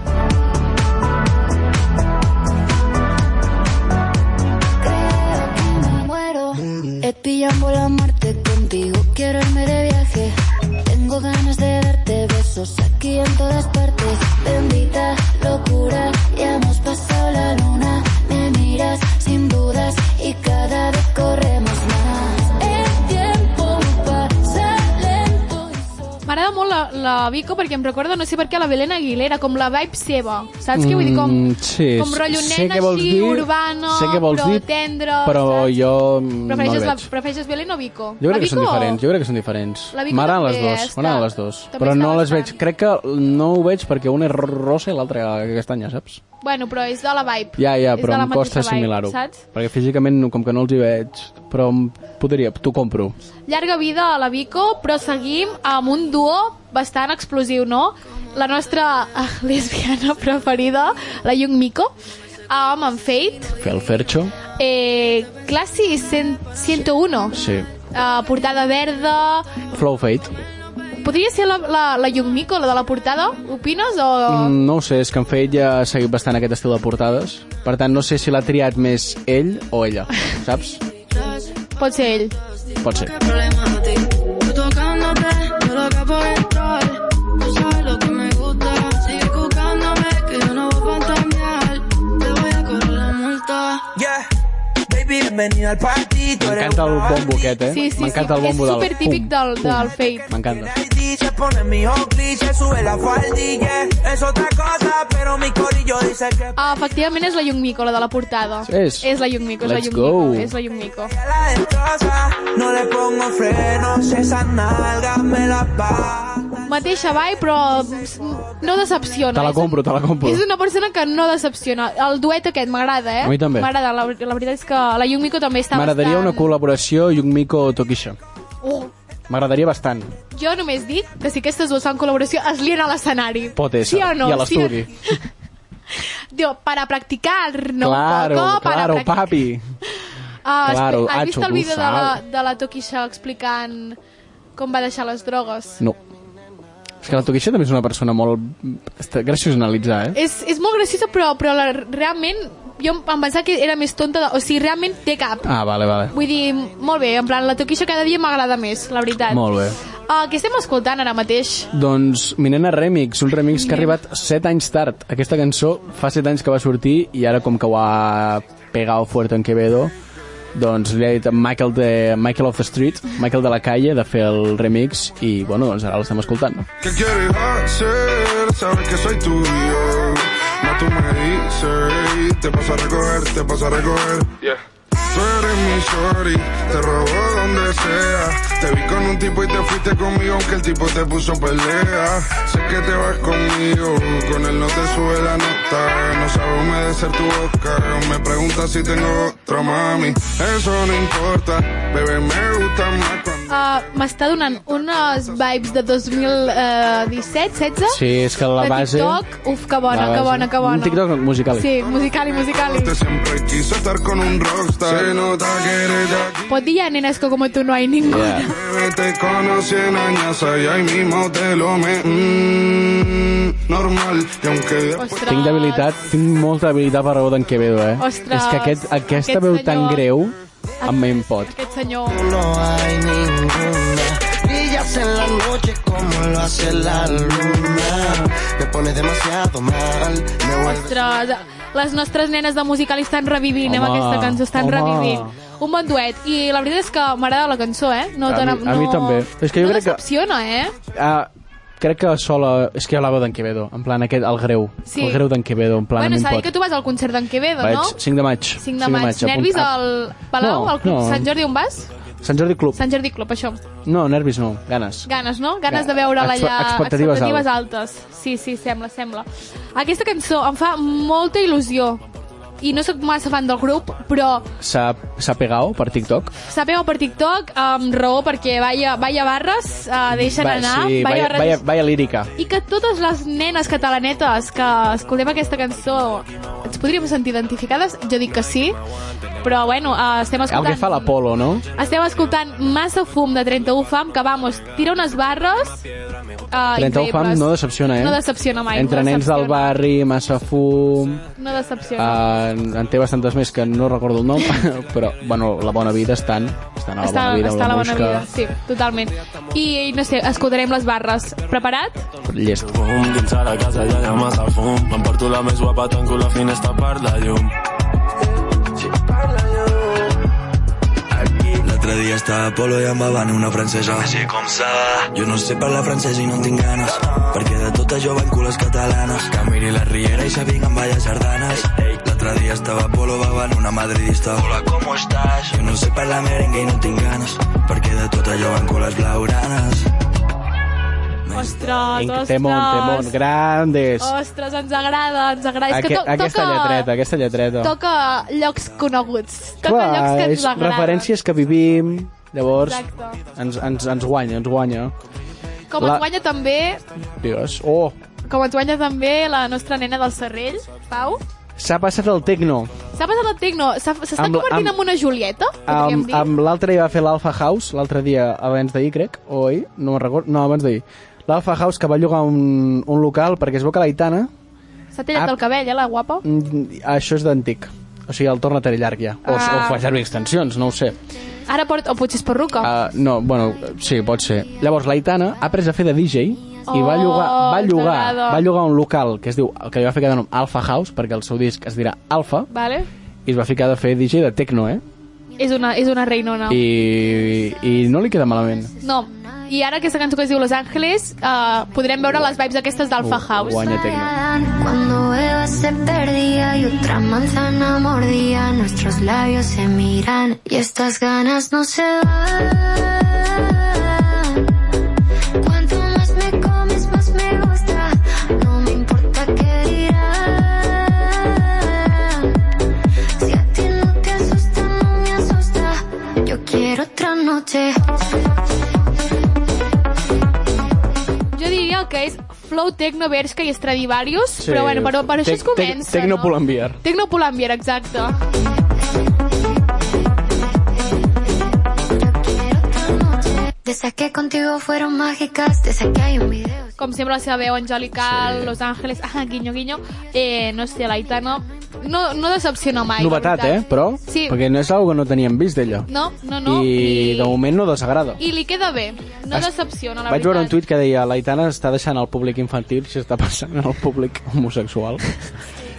[SPEAKER 7] muero. Espillando la muerte contigo, quiero irme de viaje. Tengo ganas de darte besos aquí en todas partes. Bendita locura, ya hemos pasado la luna. Me miras sin dudas y cada vez corremos más. El tiempo pasa lento y solo.
[SPEAKER 3] M'agrada molt la, la Vico perquè em recorda, no sé per què, la Belén Aguilera, com la vibe seva. Saps què vull dir? Com,
[SPEAKER 1] Mm, sí,
[SPEAKER 3] com rotllo
[SPEAKER 1] sé
[SPEAKER 3] nena
[SPEAKER 1] què vols
[SPEAKER 3] així,
[SPEAKER 1] dir,
[SPEAKER 3] urbana,
[SPEAKER 1] sé què vols
[SPEAKER 3] però
[SPEAKER 1] dir,
[SPEAKER 3] tendra,
[SPEAKER 1] però
[SPEAKER 3] saps?
[SPEAKER 1] jo mm, no
[SPEAKER 3] Prefereixes,
[SPEAKER 1] el
[SPEAKER 3] la,
[SPEAKER 1] veig.
[SPEAKER 3] prefereixes Belén o Vico?
[SPEAKER 1] Jo
[SPEAKER 3] La
[SPEAKER 1] crec que són
[SPEAKER 3] Vico o-
[SPEAKER 1] diferents, jo crec que són diferents.
[SPEAKER 3] La Vico
[SPEAKER 1] M'agraden les
[SPEAKER 3] també
[SPEAKER 1] dues,
[SPEAKER 3] està-
[SPEAKER 1] m'agraden les dues.
[SPEAKER 3] també
[SPEAKER 1] Però
[SPEAKER 3] està
[SPEAKER 1] no les
[SPEAKER 3] bastant.
[SPEAKER 1] veig, crec que no ho veig perquè una és rosa i l'altra castanya, saps?
[SPEAKER 3] Bueno, però és de la vibe.
[SPEAKER 1] Ja, ja,
[SPEAKER 3] És de
[SPEAKER 1] però
[SPEAKER 3] la
[SPEAKER 1] em costa
[SPEAKER 3] mateixa vibe,
[SPEAKER 1] assimilar-ho.
[SPEAKER 3] Saps?
[SPEAKER 1] Perquè físicament, no- com que no els hi veig, però em podria, t'ho compro.
[SPEAKER 3] Llarga vida a la Vico, però seguim amb un duo bastant explosiu, no? La nostra eh, lesbiana preferida, la Yung Miko, amb en Fate,
[SPEAKER 1] Fer el Fercho,
[SPEAKER 3] eh, Classi 100, 101,
[SPEAKER 1] sí.
[SPEAKER 3] eh, portada verda...
[SPEAKER 1] Flow Fate.
[SPEAKER 3] Podria ser la, la, la Yung Miko, la de la portada? Opines o...? Mm.
[SPEAKER 1] Mm, No ho sé, és que en Fate ja ha seguit bastant aquest estil de portades. Per tant, no sé si l'ha triat més ell o ella, saps?
[SPEAKER 3] Pot ser ell.
[SPEAKER 1] Pot ser.
[SPEAKER 7] Qué problemático. Tú tocándome, yo loca por entrar. Tú sabes lo que me gusta. Sigue buscándome, que yo no voy a fantamear. Te voy a cobrar la multa.
[SPEAKER 5] Yeah. Baby, bienvenida al party. tú eres
[SPEAKER 1] M'encanta el
[SPEAKER 5] una
[SPEAKER 1] bombo
[SPEAKER 5] bandida.
[SPEAKER 1] aquest, eh?
[SPEAKER 3] Sí, sí,
[SPEAKER 1] M'encanta
[SPEAKER 3] sí.
[SPEAKER 1] el bombo
[SPEAKER 3] és
[SPEAKER 1] del...
[SPEAKER 3] supertípic
[SPEAKER 1] pum,
[SPEAKER 3] del,
[SPEAKER 1] pum.
[SPEAKER 3] del Fate.
[SPEAKER 1] M'encanta.
[SPEAKER 5] Tiene ID, Se pone mi home cliché, sube la faldilla. Es otra cosa, pero mi corillo dice que
[SPEAKER 3] Ah, efectivament és la Yung Miko, la de la portada.
[SPEAKER 1] És?
[SPEAKER 3] És la Yung Miko, és la
[SPEAKER 1] Let's
[SPEAKER 3] Yung
[SPEAKER 1] go.
[SPEAKER 3] Miko. És la Yung Miko.
[SPEAKER 5] ella la destroza. No le pongo frenos, esas nalgas me las va.
[SPEAKER 3] Mateixa vibe, però s- no decepciona.
[SPEAKER 1] Te la
[SPEAKER 3] És un-
[SPEAKER 1] compro, te la compro.
[SPEAKER 3] És una persona que no decepciona. El duet aquest m'agrada, eh?
[SPEAKER 1] A mi també.
[SPEAKER 3] M'agrada, la, la veritat és que la Yung Miko també està
[SPEAKER 1] M'agradaria una
[SPEAKER 3] bastant...
[SPEAKER 1] col·laboració Yungmiko-Tokisha.
[SPEAKER 3] Uh,
[SPEAKER 1] M'agradaria bastant.
[SPEAKER 3] jo només dic que si aquestes dues fan col·laboració es lien a l'escenari.
[SPEAKER 1] Pot ésser,
[SPEAKER 3] Sí o no?
[SPEAKER 1] i a l'estudi.
[SPEAKER 3] Sí o- Digo, para practicar, no?
[SPEAKER 1] claro,
[SPEAKER 3] poco, para
[SPEAKER 1] claro,
[SPEAKER 3] practicar.
[SPEAKER 1] papi.
[SPEAKER 3] Ah,
[SPEAKER 1] Claro,
[SPEAKER 3] has
[SPEAKER 1] ah,
[SPEAKER 3] vist el vídeo de la,
[SPEAKER 1] chocusal.
[SPEAKER 3] de la Tokisha explicant com va deixar les drogues?
[SPEAKER 1] No. És que la Tokisha també és una persona molt... Està graciós analitzar, eh?
[SPEAKER 3] És, és molt graciosa, però, però la, realment jo em em pensava que era més tonta, de, o sigui, realment té cap.
[SPEAKER 1] Ah, vale, vale.
[SPEAKER 3] Vull dir, molt bé, en plan, la Tokisha cada dia m'agrada més, la veritat.
[SPEAKER 1] Molt bé.
[SPEAKER 3] Uh, què estem escoltant ara mateix?
[SPEAKER 1] Doncs Minena Remix, un remix que ha arribat 7 anys tard. Aquesta cançó fa 7 anys que va sortir i ara com que ho ha pegado fuerte en Quevedo, doncs li ha dit a Michael, de, Michael of the Street, Michael de la calle, de fer el remix i, bueno, doncs ara l'estem escoltant.
[SPEAKER 8] ¿Qué quieres hacer? Sabes que soy tuyo. No tú me dices. y Te paso a recoger, te paso a recoger. Tú eres mi shorty, te robó donde sea. Te vi con un tipo y te fuiste conmigo, aunque el tipo te puso pelea. Sé que te vas conmigo, con él no te sube la nota. No sabe humedecer tu boca. Me pregunta si tengo otra mami. Eso no importa, bebé, me gusta más cuando.
[SPEAKER 3] Uh, M'està donant unes vibes de 2017, 16?
[SPEAKER 1] Sí, és que la
[SPEAKER 3] de
[SPEAKER 1] base...
[SPEAKER 3] TikTok, uf, que bona,
[SPEAKER 1] La
[SPEAKER 3] que
[SPEAKER 1] base.
[SPEAKER 3] bona, que bona.
[SPEAKER 1] Un TikTok musical.
[SPEAKER 3] Sí, musical i musical.
[SPEAKER 8] Usted Este siempre quiso estar con un rockstar. Se nota que eres de aquí.
[SPEAKER 3] Pot dir ja, nenes, que com tu no hi ha ningú.
[SPEAKER 1] Yeah.
[SPEAKER 8] Bebé, Te conocí en Añaza y ahí mismo te lo me... mm, normal, y aunque...
[SPEAKER 4] Pues
[SPEAKER 8] después-
[SPEAKER 3] Ostres.
[SPEAKER 1] Tinc debilitat, tinc molta debilitat per raó d'en Quevedo, eh?
[SPEAKER 3] Ostres,
[SPEAKER 1] És que aquest, aquesta
[SPEAKER 3] aquest
[SPEAKER 1] veu
[SPEAKER 3] senyor-
[SPEAKER 1] tan greu em impot.
[SPEAKER 3] Aquest senyor...
[SPEAKER 4] no hay ninguna. Brillas en la noche como lo hace la luna. Me pone demasiado mal, me vuelve
[SPEAKER 3] Ostres, les nostres nenes de musical estan revivint eh, amb
[SPEAKER 1] Home,
[SPEAKER 3] aquesta cançó, estan
[SPEAKER 1] home.
[SPEAKER 3] revivint. Un bon duet. I la veritat és que m'agrada la cançó, eh? No
[SPEAKER 1] A
[SPEAKER 3] te-
[SPEAKER 1] mi- a mi
[SPEAKER 3] no-
[SPEAKER 1] també. És que jo
[SPEAKER 3] no
[SPEAKER 1] crec que-
[SPEAKER 3] decepciona, eh?
[SPEAKER 1] Ah, crec que sola... És que hablava d'en Quevedo, en plan aquest, el greu.
[SPEAKER 3] Sí.
[SPEAKER 1] El greu d'en Quevedo, en plan
[SPEAKER 3] bueno,
[SPEAKER 1] em
[SPEAKER 3] s'ha de dir
[SPEAKER 1] impot.
[SPEAKER 3] que tu vas al concert d'en Quevedo,
[SPEAKER 1] Vaig
[SPEAKER 3] no?
[SPEAKER 1] 5 de maig.
[SPEAKER 3] 5 de maig. Nervis
[SPEAKER 1] apunt-
[SPEAKER 3] al Palau,
[SPEAKER 1] No,
[SPEAKER 3] al Club
[SPEAKER 1] no.
[SPEAKER 3] Sant Jordi, on vas?
[SPEAKER 1] a- Sant Jordi Club.
[SPEAKER 3] Sant Jordi Club, això.
[SPEAKER 1] No, nervis no, ganes.
[SPEAKER 3] Ganes, no? Ganes
[SPEAKER 1] Ga-
[SPEAKER 3] de veure la
[SPEAKER 1] expe-
[SPEAKER 3] allà...
[SPEAKER 1] expectatives
[SPEAKER 3] expectatives altes. Sí, sí, sembla, sembla. Aquesta cançó em fa molta il·lusió. I no sóc massa fan del grup, però
[SPEAKER 1] S'ha s'ha pegao per TikTok.
[SPEAKER 3] Sapeu per TikTok, amb raó, perquè vaya, vaya barres, uh, deixen
[SPEAKER 1] Va,
[SPEAKER 3] anar,
[SPEAKER 1] sí,
[SPEAKER 3] vaya,
[SPEAKER 1] vaya,
[SPEAKER 3] barres...
[SPEAKER 1] vaya, vaya lírica.
[SPEAKER 3] I que totes les nenes catalanetes que escoltem aquesta cançó ens podríem sentir identificades? Jo dic que sí, però bueno, uh, estem
[SPEAKER 1] El
[SPEAKER 3] escoltant...
[SPEAKER 1] que fa l'Apolo, no?
[SPEAKER 3] Estem escoltant Massa Fum de 31 Fam, que, vamos, tira unes barres uh,
[SPEAKER 1] 31 fam no decepciona, eh?
[SPEAKER 3] No decepciona mai.
[SPEAKER 1] Entre
[SPEAKER 3] no
[SPEAKER 1] nens del
[SPEAKER 3] decepciona.
[SPEAKER 1] barri, massa fum...
[SPEAKER 3] No decepciona.
[SPEAKER 1] Uh, en té bastantes més que no recordo el nom, però, bueno, la bona vida estan... Estan a la
[SPEAKER 3] està,
[SPEAKER 1] bona vida,
[SPEAKER 3] està a la bona
[SPEAKER 1] busca,
[SPEAKER 3] vida, sí, totalment. I, no sé, escoltarem les barres. Preparat?
[SPEAKER 1] Llest.
[SPEAKER 9] fum dins a la casa ja hi ha massa fum m'emporto la més guapa tanco la finestra per la llum
[SPEAKER 10] L'altre dia estava a Polo i em va venir una francesa. Així com sa. Jo no sé parlar francès i no en tinc ganes, perquè de tot això van cules catalanes. Que miri la riera i s'avinguen amb balles sardanes. L'altre dia estava a Polo, va venir una madridista. Hola, com estàs? Jo no sé parlar merengue i no en tinc ganes, perquè de tot allò van cules blaugranes.
[SPEAKER 3] Ostres, ostres.
[SPEAKER 1] Temón, temón, grandes.
[SPEAKER 3] Ostres, ens agrada, ens agrada. és que
[SPEAKER 1] Aque-
[SPEAKER 3] to
[SPEAKER 1] aquesta
[SPEAKER 3] toca,
[SPEAKER 1] lletreta, aquesta lletreta.
[SPEAKER 3] Toca llocs coneguts. Toca
[SPEAKER 1] Clar,
[SPEAKER 3] llocs que ens
[SPEAKER 1] és
[SPEAKER 3] agraden.
[SPEAKER 1] referències que vivim, llavors
[SPEAKER 3] Exacte.
[SPEAKER 1] ens, ens, ens guanya, ens guanya.
[SPEAKER 3] Com
[SPEAKER 1] la-
[SPEAKER 3] ens guanya també
[SPEAKER 1] Digues, oh,
[SPEAKER 3] com ens guanya també la nostra nena del Serrell, Pau.
[SPEAKER 1] s'ha passat el tecno.
[SPEAKER 3] S'ha passat el tecno, s'ha- s'està
[SPEAKER 1] Amb-
[SPEAKER 3] convertint
[SPEAKER 1] amb-
[SPEAKER 3] en una Julieta,
[SPEAKER 1] Amb,
[SPEAKER 3] podríem dir.
[SPEAKER 1] amb l'altre hi va fer l'Alpha House, l'altre dia, abans d'ahir, crec, o ahir, no me'n recordo, no, abans d'ahir. L'Alpha House que va llogar un, un local perquè es veu que l'Aitana,
[SPEAKER 3] S'ha tallat
[SPEAKER 1] amb-
[SPEAKER 3] el cabell, eh, la guapa.
[SPEAKER 1] mm, això és d'antic. O sigui, el torna a tenir llarg ja. O,
[SPEAKER 3] Ah.
[SPEAKER 1] o fa servir extensions, no ho sé.
[SPEAKER 3] Ara porta... O potser és perruca.
[SPEAKER 1] Uh, no, bueno, sí, pot ser. Llavors, l'Aitana ha après a fer de DJ i va
[SPEAKER 3] Oh,
[SPEAKER 1] llogar, va
[SPEAKER 3] ens
[SPEAKER 1] llogar,
[SPEAKER 3] agrada.
[SPEAKER 1] va llogar un local que es diu, que li va ficar de nom Alpha House, perquè el seu disc es dirà Alpha,
[SPEAKER 3] Vale?
[SPEAKER 1] i es va ficar de fer DJ de techno, eh?
[SPEAKER 3] És una, és una reinona.
[SPEAKER 1] I, I no li queda malament.
[SPEAKER 3] No. I ara aquesta cançó que es diu Los Ángeles, uh, podrem veure les vibes aquestes d'Alpha House.
[SPEAKER 1] Guanya techno.
[SPEAKER 7] Adán, Cuando Eva se perdía y otra manzana mordía, nuestros labios se miran y estas ganas no se van. Cuanto más me comes, más me gusta. No me importa qué dirán. Si a ti no te asusta, no me asusta. Yo quiero otra noche.
[SPEAKER 3] Jo diria que és Flow Tecno Bershka i Stradivarius, sí. però bueno, per, per això
[SPEAKER 1] Tec-
[SPEAKER 3] es comença,
[SPEAKER 1] tec- Techno
[SPEAKER 3] no?
[SPEAKER 1] Pull&Bear.
[SPEAKER 3] Tecno Pulambier, exacte.
[SPEAKER 7] Desde que contigo fueron mágicas, desde que hay un video.
[SPEAKER 3] Com sempre la seva veu angelical, sí. Los Ángeles, ah, guinyo, guinyo, eh, no sé, l'Aitana no, no decepciona mai. la
[SPEAKER 1] Novetat, eh?
[SPEAKER 3] veritat.
[SPEAKER 1] Però,
[SPEAKER 3] Sí.
[SPEAKER 1] perquè no és una que no teníem vist d'ella.
[SPEAKER 3] No, no, no.
[SPEAKER 1] I, de moment no desagrada.
[SPEAKER 3] I li queda bé. No
[SPEAKER 1] Es-
[SPEAKER 3] decepciona, la
[SPEAKER 1] Vaig
[SPEAKER 3] veritat.
[SPEAKER 1] veure un tuit que deia l'Aitana està deixant el públic infantil si està passant en el públic homosexual.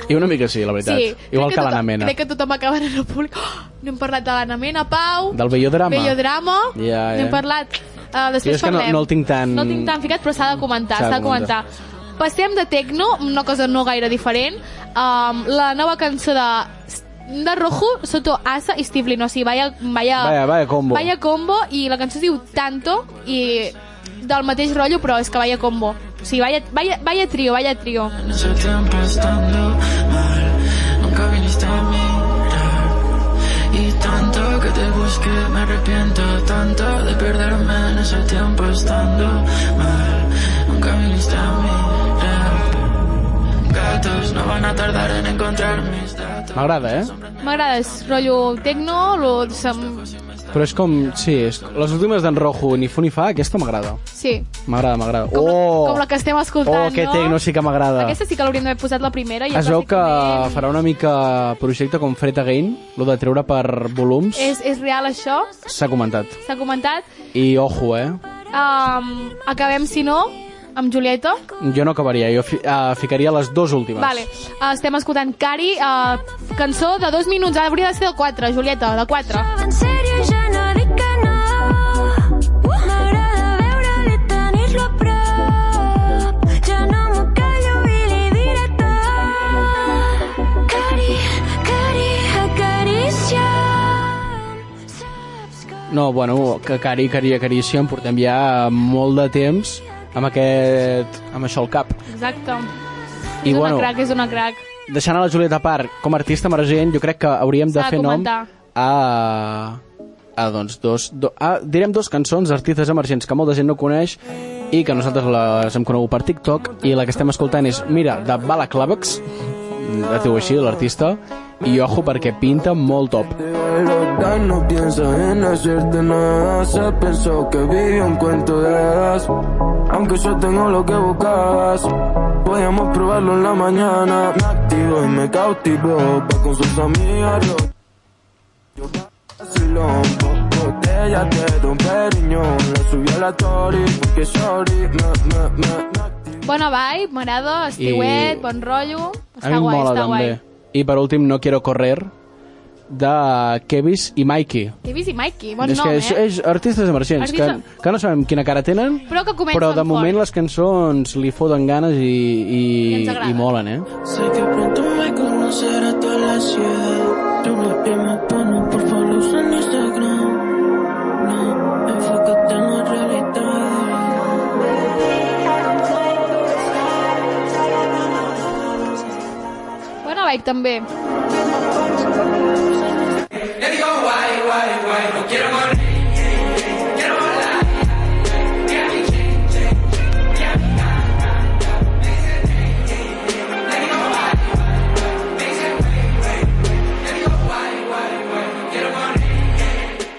[SPEAKER 1] I una mica sí, la veritat.
[SPEAKER 3] Sí, crec
[SPEAKER 1] Igual que, l'Anna
[SPEAKER 3] tothom-
[SPEAKER 1] Mena.
[SPEAKER 3] Crec que tothom acaba en el públic. Oh, no hem parlat de l'Anna Mena, Pau.
[SPEAKER 1] Del vellodrama.
[SPEAKER 3] Vellodrama.
[SPEAKER 1] Ja, ja.
[SPEAKER 3] N'hem parlat. Uh,
[SPEAKER 1] Jo
[SPEAKER 3] després
[SPEAKER 1] és que no-
[SPEAKER 3] parlem.
[SPEAKER 1] no el tinc tan-
[SPEAKER 3] No el tinc tan ficat, però s'ha de comentar, s'ha de comentar. Passem de Tecno, una cosa no gaire diferent, um, la nova cançó de, de Rojo, Soto Asa i Steve Lin. O sigui, vaya, vaya,
[SPEAKER 1] Vaya, vaya combo.
[SPEAKER 3] Vaya combo, i la cançó es diu Tanto, i del mateix rotllo, però és que vaya combo. O sigui, vaya, vaya, vaya trio, vaya trio.
[SPEAKER 11] Se tiempo estando mal, nunca viniste a mirar. Y tanto que te busqué, me arrepiento tanto de perderme en ese tiempo estando mal. Nunca viniste a mirar. Gatos no van a tardar en encontrar mis datos.
[SPEAKER 1] M'agrada, eh?
[SPEAKER 3] M'agrada, és rotllo tecno, lo... sem-
[SPEAKER 1] Però és com... Sí, és... les últimes d'en Rojo, ni fu ni fa, aquesta m'agrada.
[SPEAKER 3] Sí,
[SPEAKER 1] M'agrada, m'agrada. Oh!
[SPEAKER 3] com la que estem escoltant,
[SPEAKER 1] oh, aquest
[SPEAKER 3] no?
[SPEAKER 1] tecno sí que m'agrada.
[SPEAKER 3] Aquesta sí que l'hauríem d'haver posat la primera. I
[SPEAKER 1] Ah. Es veu que farà una mica projecte com Fred Again, lo de treure per volums,
[SPEAKER 3] És, és real això,
[SPEAKER 1] s'ha comentat.
[SPEAKER 3] s'ha comentat.
[SPEAKER 1] I ojo, eh?
[SPEAKER 3] Um, acabem, si no, amb Julieta.
[SPEAKER 1] Jo no acabaria, jo fi, uh, ficaria les dues últimes.
[SPEAKER 3] Vale, uh, estem escoltant Cari, uh, cançó de dos minuts, Ah, hauria de ser de quatre, Julieta, de quatre.
[SPEAKER 6] En sèrio ja no dic que no. M'agrada veure-li tenir-lo a prop. Ja no m'ho callo i li diré tot. Cari, cari, acaricia.
[SPEAKER 1] No, bueno, que cari, cari, carícia, em portem ja molt de temps amb aquest... amb això al cap.
[SPEAKER 3] Exacte.
[SPEAKER 1] I,
[SPEAKER 3] és
[SPEAKER 1] bueno,
[SPEAKER 3] una crac, és una crac.
[SPEAKER 1] Deixant a la Julieta a part, com a artista emergent, jo crec que hauríem de
[SPEAKER 3] S'ha de
[SPEAKER 1] fer nom
[SPEAKER 3] comentar.
[SPEAKER 1] a... a doncs, dos, do, a, direm dos cançons d'artistes emergents que molta gent no coneix i que nosaltres les hem conegut per TikTok i la que estem escoltant és Mira, de Bala Clavex la teu així, l'artista i ojo perquè pinta molt top
[SPEAKER 12] verdad no piensa en hacerte nada. Se pensó que vivía un cuento de hadas. Aunque yo tengo lo que buscabas. Podíamos probarlo en la mañana. Me activo y me cautivo. Va con sus amigas. Yo, yo vacilón. Bo- Botella de Don Periñón. La subí a la story porque sorry. Me, me, me, me
[SPEAKER 3] Bona vibe, m'agrada, estiuet,
[SPEAKER 1] I-
[SPEAKER 3] bon
[SPEAKER 1] a
[SPEAKER 3] rotllo.
[SPEAKER 1] mi
[SPEAKER 3] Està
[SPEAKER 1] em
[SPEAKER 3] guai,
[SPEAKER 1] mola
[SPEAKER 3] està
[SPEAKER 1] també
[SPEAKER 3] guai.
[SPEAKER 1] i per últim No Quiero Correr de Kevis i Mikey
[SPEAKER 3] Davis i Mikey, bon
[SPEAKER 1] és
[SPEAKER 3] nom,
[SPEAKER 1] que
[SPEAKER 3] eh?
[SPEAKER 1] és, és artistes emergents
[SPEAKER 3] Artista-
[SPEAKER 1] que, que no sabem quina cara tenen
[SPEAKER 3] Però que comencen
[SPEAKER 1] però de moment
[SPEAKER 3] fort.
[SPEAKER 1] les cançons li foten ganes i, i,
[SPEAKER 11] I ens
[SPEAKER 1] i
[SPEAKER 11] agraden.
[SPEAKER 1] molen, eh?
[SPEAKER 11] Sé que pronto me conocerá toda la ciudad. Tú me prima pana, por favor, usa en Instagram. No, enfócate en la
[SPEAKER 3] Bona vibe, també.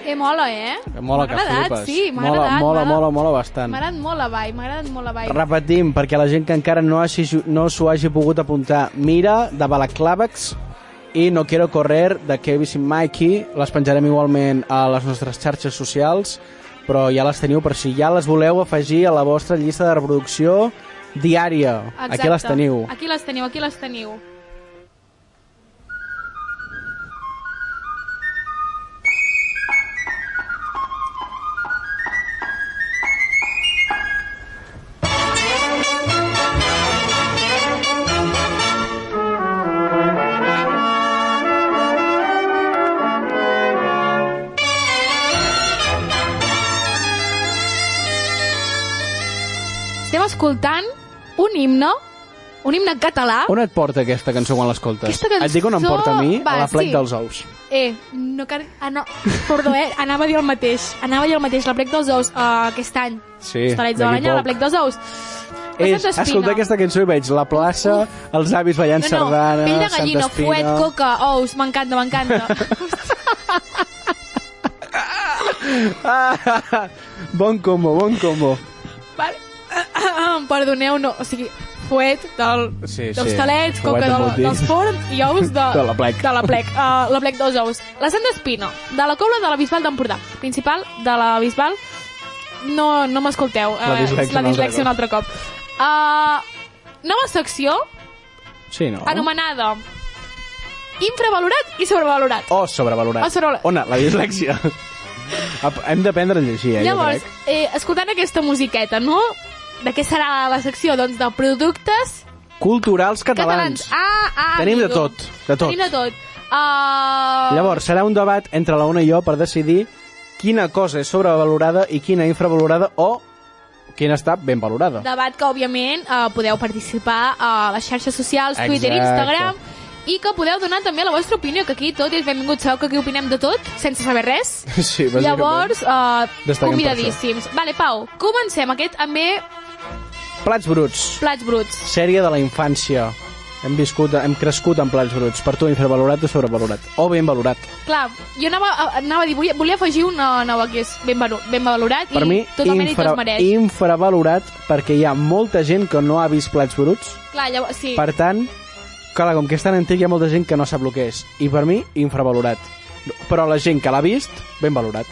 [SPEAKER 3] Eh, mola, eh?
[SPEAKER 1] Que mola
[SPEAKER 3] M'ha
[SPEAKER 1] que
[SPEAKER 3] agradat,
[SPEAKER 1] flipes.
[SPEAKER 3] sí, m'ha
[SPEAKER 1] mola,
[SPEAKER 3] agradat,
[SPEAKER 1] mola,
[SPEAKER 3] m'ha-
[SPEAKER 1] mola, mola bastant.
[SPEAKER 3] M'ha agradat molt la vibe, m'ha agradat molt la vibe.
[SPEAKER 1] Repetim, perquè la gent que encara no, hagi, no s'ho hagi pogut apuntar, mira, de Balaclàvex i No Quiero Correr, de Kevin i Mikey. Les penjarem igualment a les nostres xarxes socials, però ja les teniu per si ja les voleu afegir a la vostra llista de reproducció diària.
[SPEAKER 3] Exacte.
[SPEAKER 1] Aquí les teniu.
[SPEAKER 3] Aquí les teniu, aquí les teniu. Estem escoltant un himne, un himne català.
[SPEAKER 1] On et porta aquesta cançó quan l'escoltes?
[SPEAKER 3] Aquesta cançó-
[SPEAKER 1] Et dic on em porta a mi,
[SPEAKER 3] Va,
[SPEAKER 1] a la plec
[SPEAKER 3] sí.
[SPEAKER 1] dels ous.
[SPEAKER 3] Eh, no car... Ah, no, perdó, eh? Anava a dir el mateix. Anava a dir el mateix, la plec dels ous, uh, aquest any.
[SPEAKER 1] Sí,
[SPEAKER 3] Estarets de
[SPEAKER 1] d'aquí
[SPEAKER 3] l'any, la
[SPEAKER 1] poc.
[SPEAKER 3] plec dels ous.
[SPEAKER 1] És,
[SPEAKER 3] Santa Espina.
[SPEAKER 1] escoltar aquesta cançó i veig la plaça, els avis ballant
[SPEAKER 3] No, no,
[SPEAKER 1] sardanes,
[SPEAKER 3] pell de
[SPEAKER 1] Santa
[SPEAKER 3] gallina,
[SPEAKER 1] Espina.
[SPEAKER 3] fuet, coca, ous, m'encanta, m'encanta.
[SPEAKER 1] Bon combo, bon combo.
[SPEAKER 3] vale. Perdoneu, no, o sigui, fuet del,
[SPEAKER 1] Sí,
[SPEAKER 3] dels
[SPEAKER 1] sí.
[SPEAKER 3] talets, coca
[SPEAKER 1] Fuet em
[SPEAKER 3] del,
[SPEAKER 1] vol dir.
[SPEAKER 3] dels forns i ous de,
[SPEAKER 1] De la plec.
[SPEAKER 3] De la plec, uh, la plec dels ous. La Santa Espina, de la cobla de la Bisbal d'Empordà. Principal de la Bisbal. No, no m'escolteu. eh,
[SPEAKER 1] La dislexia
[SPEAKER 3] és la
[SPEAKER 1] un altre
[SPEAKER 3] dislexia un
[SPEAKER 1] cop.
[SPEAKER 3] altre cop. Uh, nova secció,
[SPEAKER 1] Sí, no?
[SPEAKER 3] anomenada infravalorat i sobrevalorat.
[SPEAKER 1] O sobrevalorat.
[SPEAKER 3] O sobrevalorat.
[SPEAKER 1] Ona, la dislexia. Ap- Hem d'aprendre a llegir, eh,
[SPEAKER 3] Llavors,
[SPEAKER 1] jo crec.
[SPEAKER 3] eh, escoltant aquesta musiqueta, no? De què serà la secció? Doncs de productes
[SPEAKER 1] Culturals catalans.
[SPEAKER 3] catalans. Ah, ah,
[SPEAKER 1] Tenim de
[SPEAKER 3] amigo.
[SPEAKER 1] tot, de tot.
[SPEAKER 3] Tenim de tot. Uh,
[SPEAKER 1] Llavors, serà un debat entre la Ona i jo per decidir quina cosa és sobrevalorada i quina infravalorada o quina està ben valorada.
[SPEAKER 3] Debat que, òbviament, eh, podeu participar a les xarxes socials, Twitter i
[SPEAKER 1] Exacte.
[SPEAKER 3] Instagram, i que podeu donar també la vostra opinió, que aquí tot és benvingut, sabeu que aquí opinem de tot, sense saber res.
[SPEAKER 1] Sí, bàsicament.
[SPEAKER 3] Llavors, eh,
[SPEAKER 1] Destaquem per
[SPEAKER 3] convidadíssims. Vale, Pau, comencem aquest també
[SPEAKER 1] Plats bruts.
[SPEAKER 3] plats bruts.
[SPEAKER 1] Sèrie de la infància. Hem viscut, hem crescut amb plats bruts. Per tu, infravalorat o sobrevalorat? O ben valorat.
[SPEAKER 3] Clar, jo anava, a- anava a dir, volia, volia afegir una nova que és ben, valo- ben valorat
[SPEAKER 1] Per
[SPEAKER 3] i
[SPEAKER 1] mi,
[SPEAKER 3] tot el mèrit
[SPEAKER 1] infra,
[SPEAKER 3] es mereix.
[SPEAKER 1] infravalorat, perquè hi ha molta gent que no ha vist plats bruts.
[SPEAKER 3] Clar, llavors, sí.
[SPEAKER 1] Per tant, clar, com que és tan antic, hi ha molta gent que no sap el que és. I per mi, infravalorat. Però la gent que l'ha vist, ben valorat.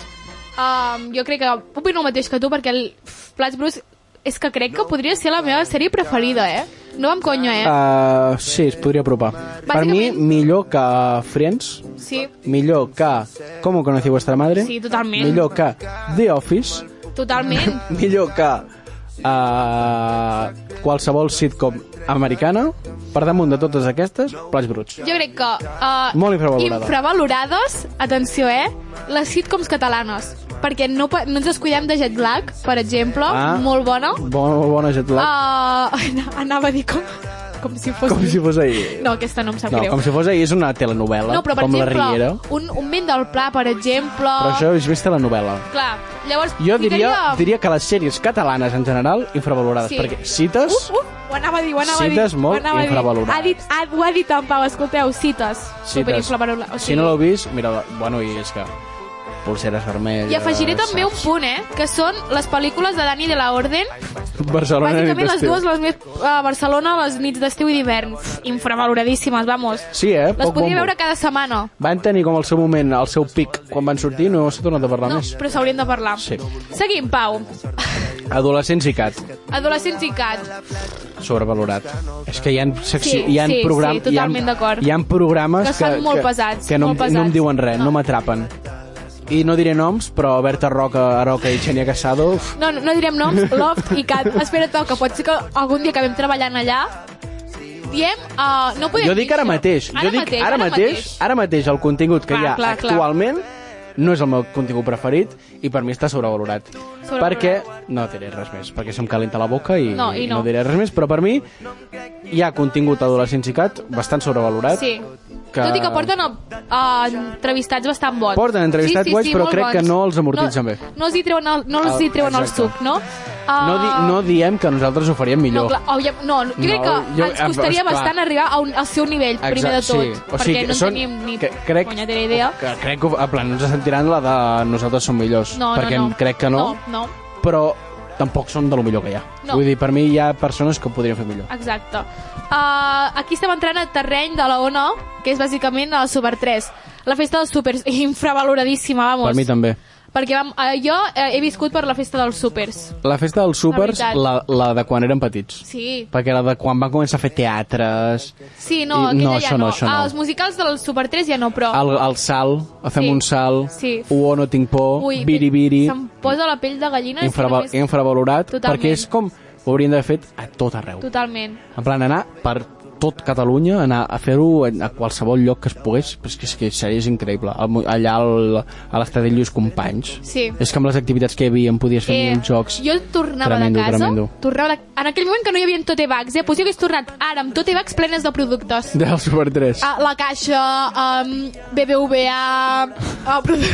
[SPEAKER 3] Um, jo crec que opino el mateix que tu, perquè el pff, Plats Bruts és que crec que podria ser la meva sèrie preferida, eh? No vam conyo, eh?
[SPEAKER 1] Uh, sí, es podria apropar. Per mi, millor que Friends,
[SPEAKER 3] Sí,
[SPEAKER 1] millor que ¿Cómo conocí vuestra madre?
[SPEAKER 3] Sí, totalment.
[SPEAKER 1] Millor que The Office,
[SPEAKER 3] totalment.
[SPEAKER 1] millor que uh, qualsevol sitcom americana, per damunt de totes aquestes, Plats Bruts.
[SPEAKER 3] Jo crec que... Uh,
[SPEAKER 1] Molt infravalorada.
[SPEAKER 3] Infravalorades, atenció, eh? Les sitcoms catalanes. Perquè no, pa- no ens descuidem de Jet Lag, per exemple,
[SPEAKER 1] Ah.
[SPEAKER 3] molt bona.
[SPEAKER 1] Bona, bona jet lag.
[SPEAKER 3] Uh, anava a dir com, com si fos...
[SPEAKER 1] com si fos ahir.
[SPEAKER 3] No, aquesta no em sap
[SPEAKER 1] No,
[SPEAKER 3] greu.
[SPEAKER 1] com si fos ahir és una telenovel·la,
[SPEAKER 3] no, però per
[SPEAKER 1] com
[SPEAKER 3] exemple, ah.
[SPEAKER 1] La Riera.
[SPEAKER 3] un, un vent del pla, per exemple...
[SPEAKER 1] Però això és vist telenovel·la.
[SPEAKER 3] Clar, llavors...
[SPEAKER 1] Jo diria,
[SPEAKER 3] ficaria-
[SPEAKER 1] diria que les sèries catalanes en general, infravalorades,
[SPEAKER 3] Sí.
[SPEAKER 1] perquè cites...
[SPEAKER 3] Uh, uh, ho anava a dir, ho anava a
[SPEAKER 1] Cites
[SPEAKER 3] dir.
[SPEAKER 1] molt
[SPEAKER 3] ho anava a dir.
[SPEAKER 1] infravalorades.
[SPEAKER 3] Ha dit, ha, ho ha dit en Pau, escolteu, cites.
[SPEAKER 1] Cites.
[SPEAKER 3] superinfravalorades, O
[SPEAKER 1] Si
[SPEAKER 3] sigui,
[SPEAKER 1] no l'heu vist, mira, bueno, i és que... Pulseres vermelles...
[SPEAKER 3] I afegiré també un punt, eh? Que són les pel·lícules de Dani de la Orden.
[SPEAKER 1] Barcelona nit
[SPEAKER 3] Bàsicament les
[SPEAKER 1] d'estiu.
[SPEAKER 3] dues, les més a Barcelona, les nits d'estiu i d'hivern. Pff, Infravaloradíssimes, vamos.
[SPEAKER 1] Sí, eh?
[SPEAKER 3] Les
[SPEAKER 1] Poc
[SPEAKER 3] podria
[SPEAKER 1] bombo.
[SPEAKER 3] veure cada setmana.
[SPEAKER 1] Van tenir com el seu moment, el seu pic, quan van sortir, no s'ha tornat a parlar
[SPEAKER 3] No,
[SPEAKER 1] més.
[SPEAKER 3] però s'haurien de parlar.
[SPEAKER 1] Sí.
[SPEAKER 3] Seguim, Pau.
[SPEAKER 1] Adolescents i cat,
[SPEAKER 3] Adolescents i cat.
[SPEAKER 1] sobrevalorat. És que hi ha, secció,
[SPEAKER 3] Sí,
[SPEAKER 1] hi ha
[SPEAKER 3] sí,
[SPEAKER 1] program,
[SPEAKER 3] sí, totalment
[SPEAKER 1] hi ha,
[SPEAKER 3] d'acord.
[SPEAKER 1] hi ha programes
[SPEAKER 3] Que
[SPEAKER 1] que,
[SPEAKER 3] són molt pesats,
[SPEAKER 1] que no,
[SPEAKER 3] molt
[SPEAKER 1] no
[SPEAKER 3] pesats.
[SPEAKER 1] em diuen res, no, m'atrapen. I no diré noms, però Berta Roca, Aroca i Xenia Casado... uf,
[SPEAKER 3] No, no, no direm noms, Loft i Cat. Espera, toca, pot ser que algun dia acabem treballant allà. Diem, uh, no podem
[SPEAKER 1] Jo dic
[SPEAKER 3] dir
[SPEAKER 1] ara
[SPEAKER 3] això.
[SPEAKER 1] mateix, jo dic ara mateix, ara mateix el contingut que
[SPEAKER 3] Clar,
[SPEAKER 1] hi ha
[SPEAKER 3] clar, clar.
[SPEAKER 1] actualment no és el meu contingut preferit i per mi està sobrevalorat.
[SPEAKER 3] Sobrevalorat.
[SPEAKER 1] Perquè no diré res més, perquè se'm calenta la boca i
[SPEAKER 3] No, i no.
[SPEAKER 1] no diré res més, però per mi hi ha contingut adolescent i cat bastant sobrevalorat.
[SPEAKER 3] Sí.
[SPEAKER 1] Que-
[SPEAKER 3] Que... Tot i que porten a, a entrevistats bastant bons.
[SPEAKER 1] Porten entrevistats guais, però
[SPEAKER 3] molt
[SPEAKER 1] crec que no els amortitzen
[SPEAKER 3] no,
[SPEAKER 1] bé.
[SPEAKER 3] No els hi treuen el, no els
[SPEAKER 1] Ah,
[SPEAKER 3] hi treuen el
[SPEAKER 1] exacte.
[SPEAKER 3] suc, no? Uh,
[SPEAKER 1] No, di no diem que nosaltres ho faríem
[SPEAKER 3] No,
[SPEAKER 1] millor.
[SPEAKER 3] clar, òbviam, no, crec
[SPEAKER 1] No,
[SPEAKER 3] no, que
[SPEAKER 1] jo-
[SPEAKER 3] ens
[SPEAKER 1] eh,
[SPEAKER 3] costaria
[SPEAKER 1] esclar.
[SPEAKER 3] bastant arribar a un, al seu nivell,
[SPEAKER 1] Exacte,
[SPEAKER 3] primer de tot,
[SPEAKER 1] sí. O
[SPEAKER 3] perquè
[SPEAKER 1] sigui,
[SPEAKER 3] no en
[SPEAKER 1] són-
[SPEAKER 3] tenim ni
[SPEAKER 1] que- crec-
[SPEAKER 3] punyetera idea.
[SPEAKER 1] Que crec que, en plan, no ens sentiran la de nosaltres som millors,
[SPEAKER 3] No,
[SPEAKER 1] perquè
[SPEAKER 3] no, no.
[SPEAKER 1] crec que no,
[SPEAKER 3] No, no.
[SPEAKER 1] però tampoc són de lo millor que hi ha.
[SPEAKER 3] No. Ah,
[SPEAKER 1] Vull dir, per mi hi ha persones que ho podrien fer millor.
[SPEAKER 3] Exacte. Uh, aquí estem entrant a terreny de la ONO, que és bàsicament el Super 3. La festa dels súpers, infravaloradíssima, vamos.
[SPEAKER 1] Per mi també.
[SPEAKER 3] Perquè vam, uh, jo eh, he viscut per la festa dels súpers.
[SPEAKER 1] La festa dels súpers,
[SPEAKER 3] La veritat.
[SPEAKER 1] la, la de quan érem petits.
[SPEAKER 3] Sí.
[SPEAKER 1] Perquè la de quan van començar a fer teatres...
[SPEAKER 3] Sí,
[SPEAKER 1] I,
[SPEAKER 3] no, aquella
[SPEAKER 1] no,
[SPEAKER 3] ja
[SPEAKER 1] això
[SPEAKER 3] no.
[SPEAKER 1] no, això no.
[SPEAKER 3] Ah, els musicals del Super 3 ja no, però...
[SPEAKER 1] El, el salt, fem
[SPEAKER 3] Oh. Sí.
[SPEAKER 1] un salt,
[SPEAKER 3] Sí.
[SPEAKER 1] uo no tinc por,
[SPEAKER 3] Ui,
[SPEAKER 1] biri biri,
[SPEAKER 3] Se'm posa la pell de gallina.
[SPEAKER 1] infraval
[SPEAKER 3] és que només...
[SPEAKER 1] infravalorat,
[SPEAKER 3] Totalment.
[SPEAKER 1] perquè és com ho haurien d'haver fet a tot arreu.
[SPEAKER 3] Totalment.
[SPEAKER 1] En plan, anar per tot Catalunya, anar a fer-ho en- a qualsevol lloc que es pogués, però és que, és que seria és increïble. Al mu- Allà al, a l'estadi Lluís Companys.
[SPEAKER 3] Sí.
[SPEAKER 1] És que amb les activitats que hi havia em podies fer eh, uns jocs.
[SPEAKER 3] jo tornava
[SPEAKER 1] Tremendo,
[SPEAKER 3] de casa,
[SPEAKER 1] tremendo.
[SPEAKER 3] tornava de... en aquell moment que no hi havia tote bags, eh? Potser hagués tornat ara amb tote bags plenes de productes.
[SPEAKER 1] Del Super 3.
[SPEAKER 3] Ah, la Caixa, um, BBVA... Uh, que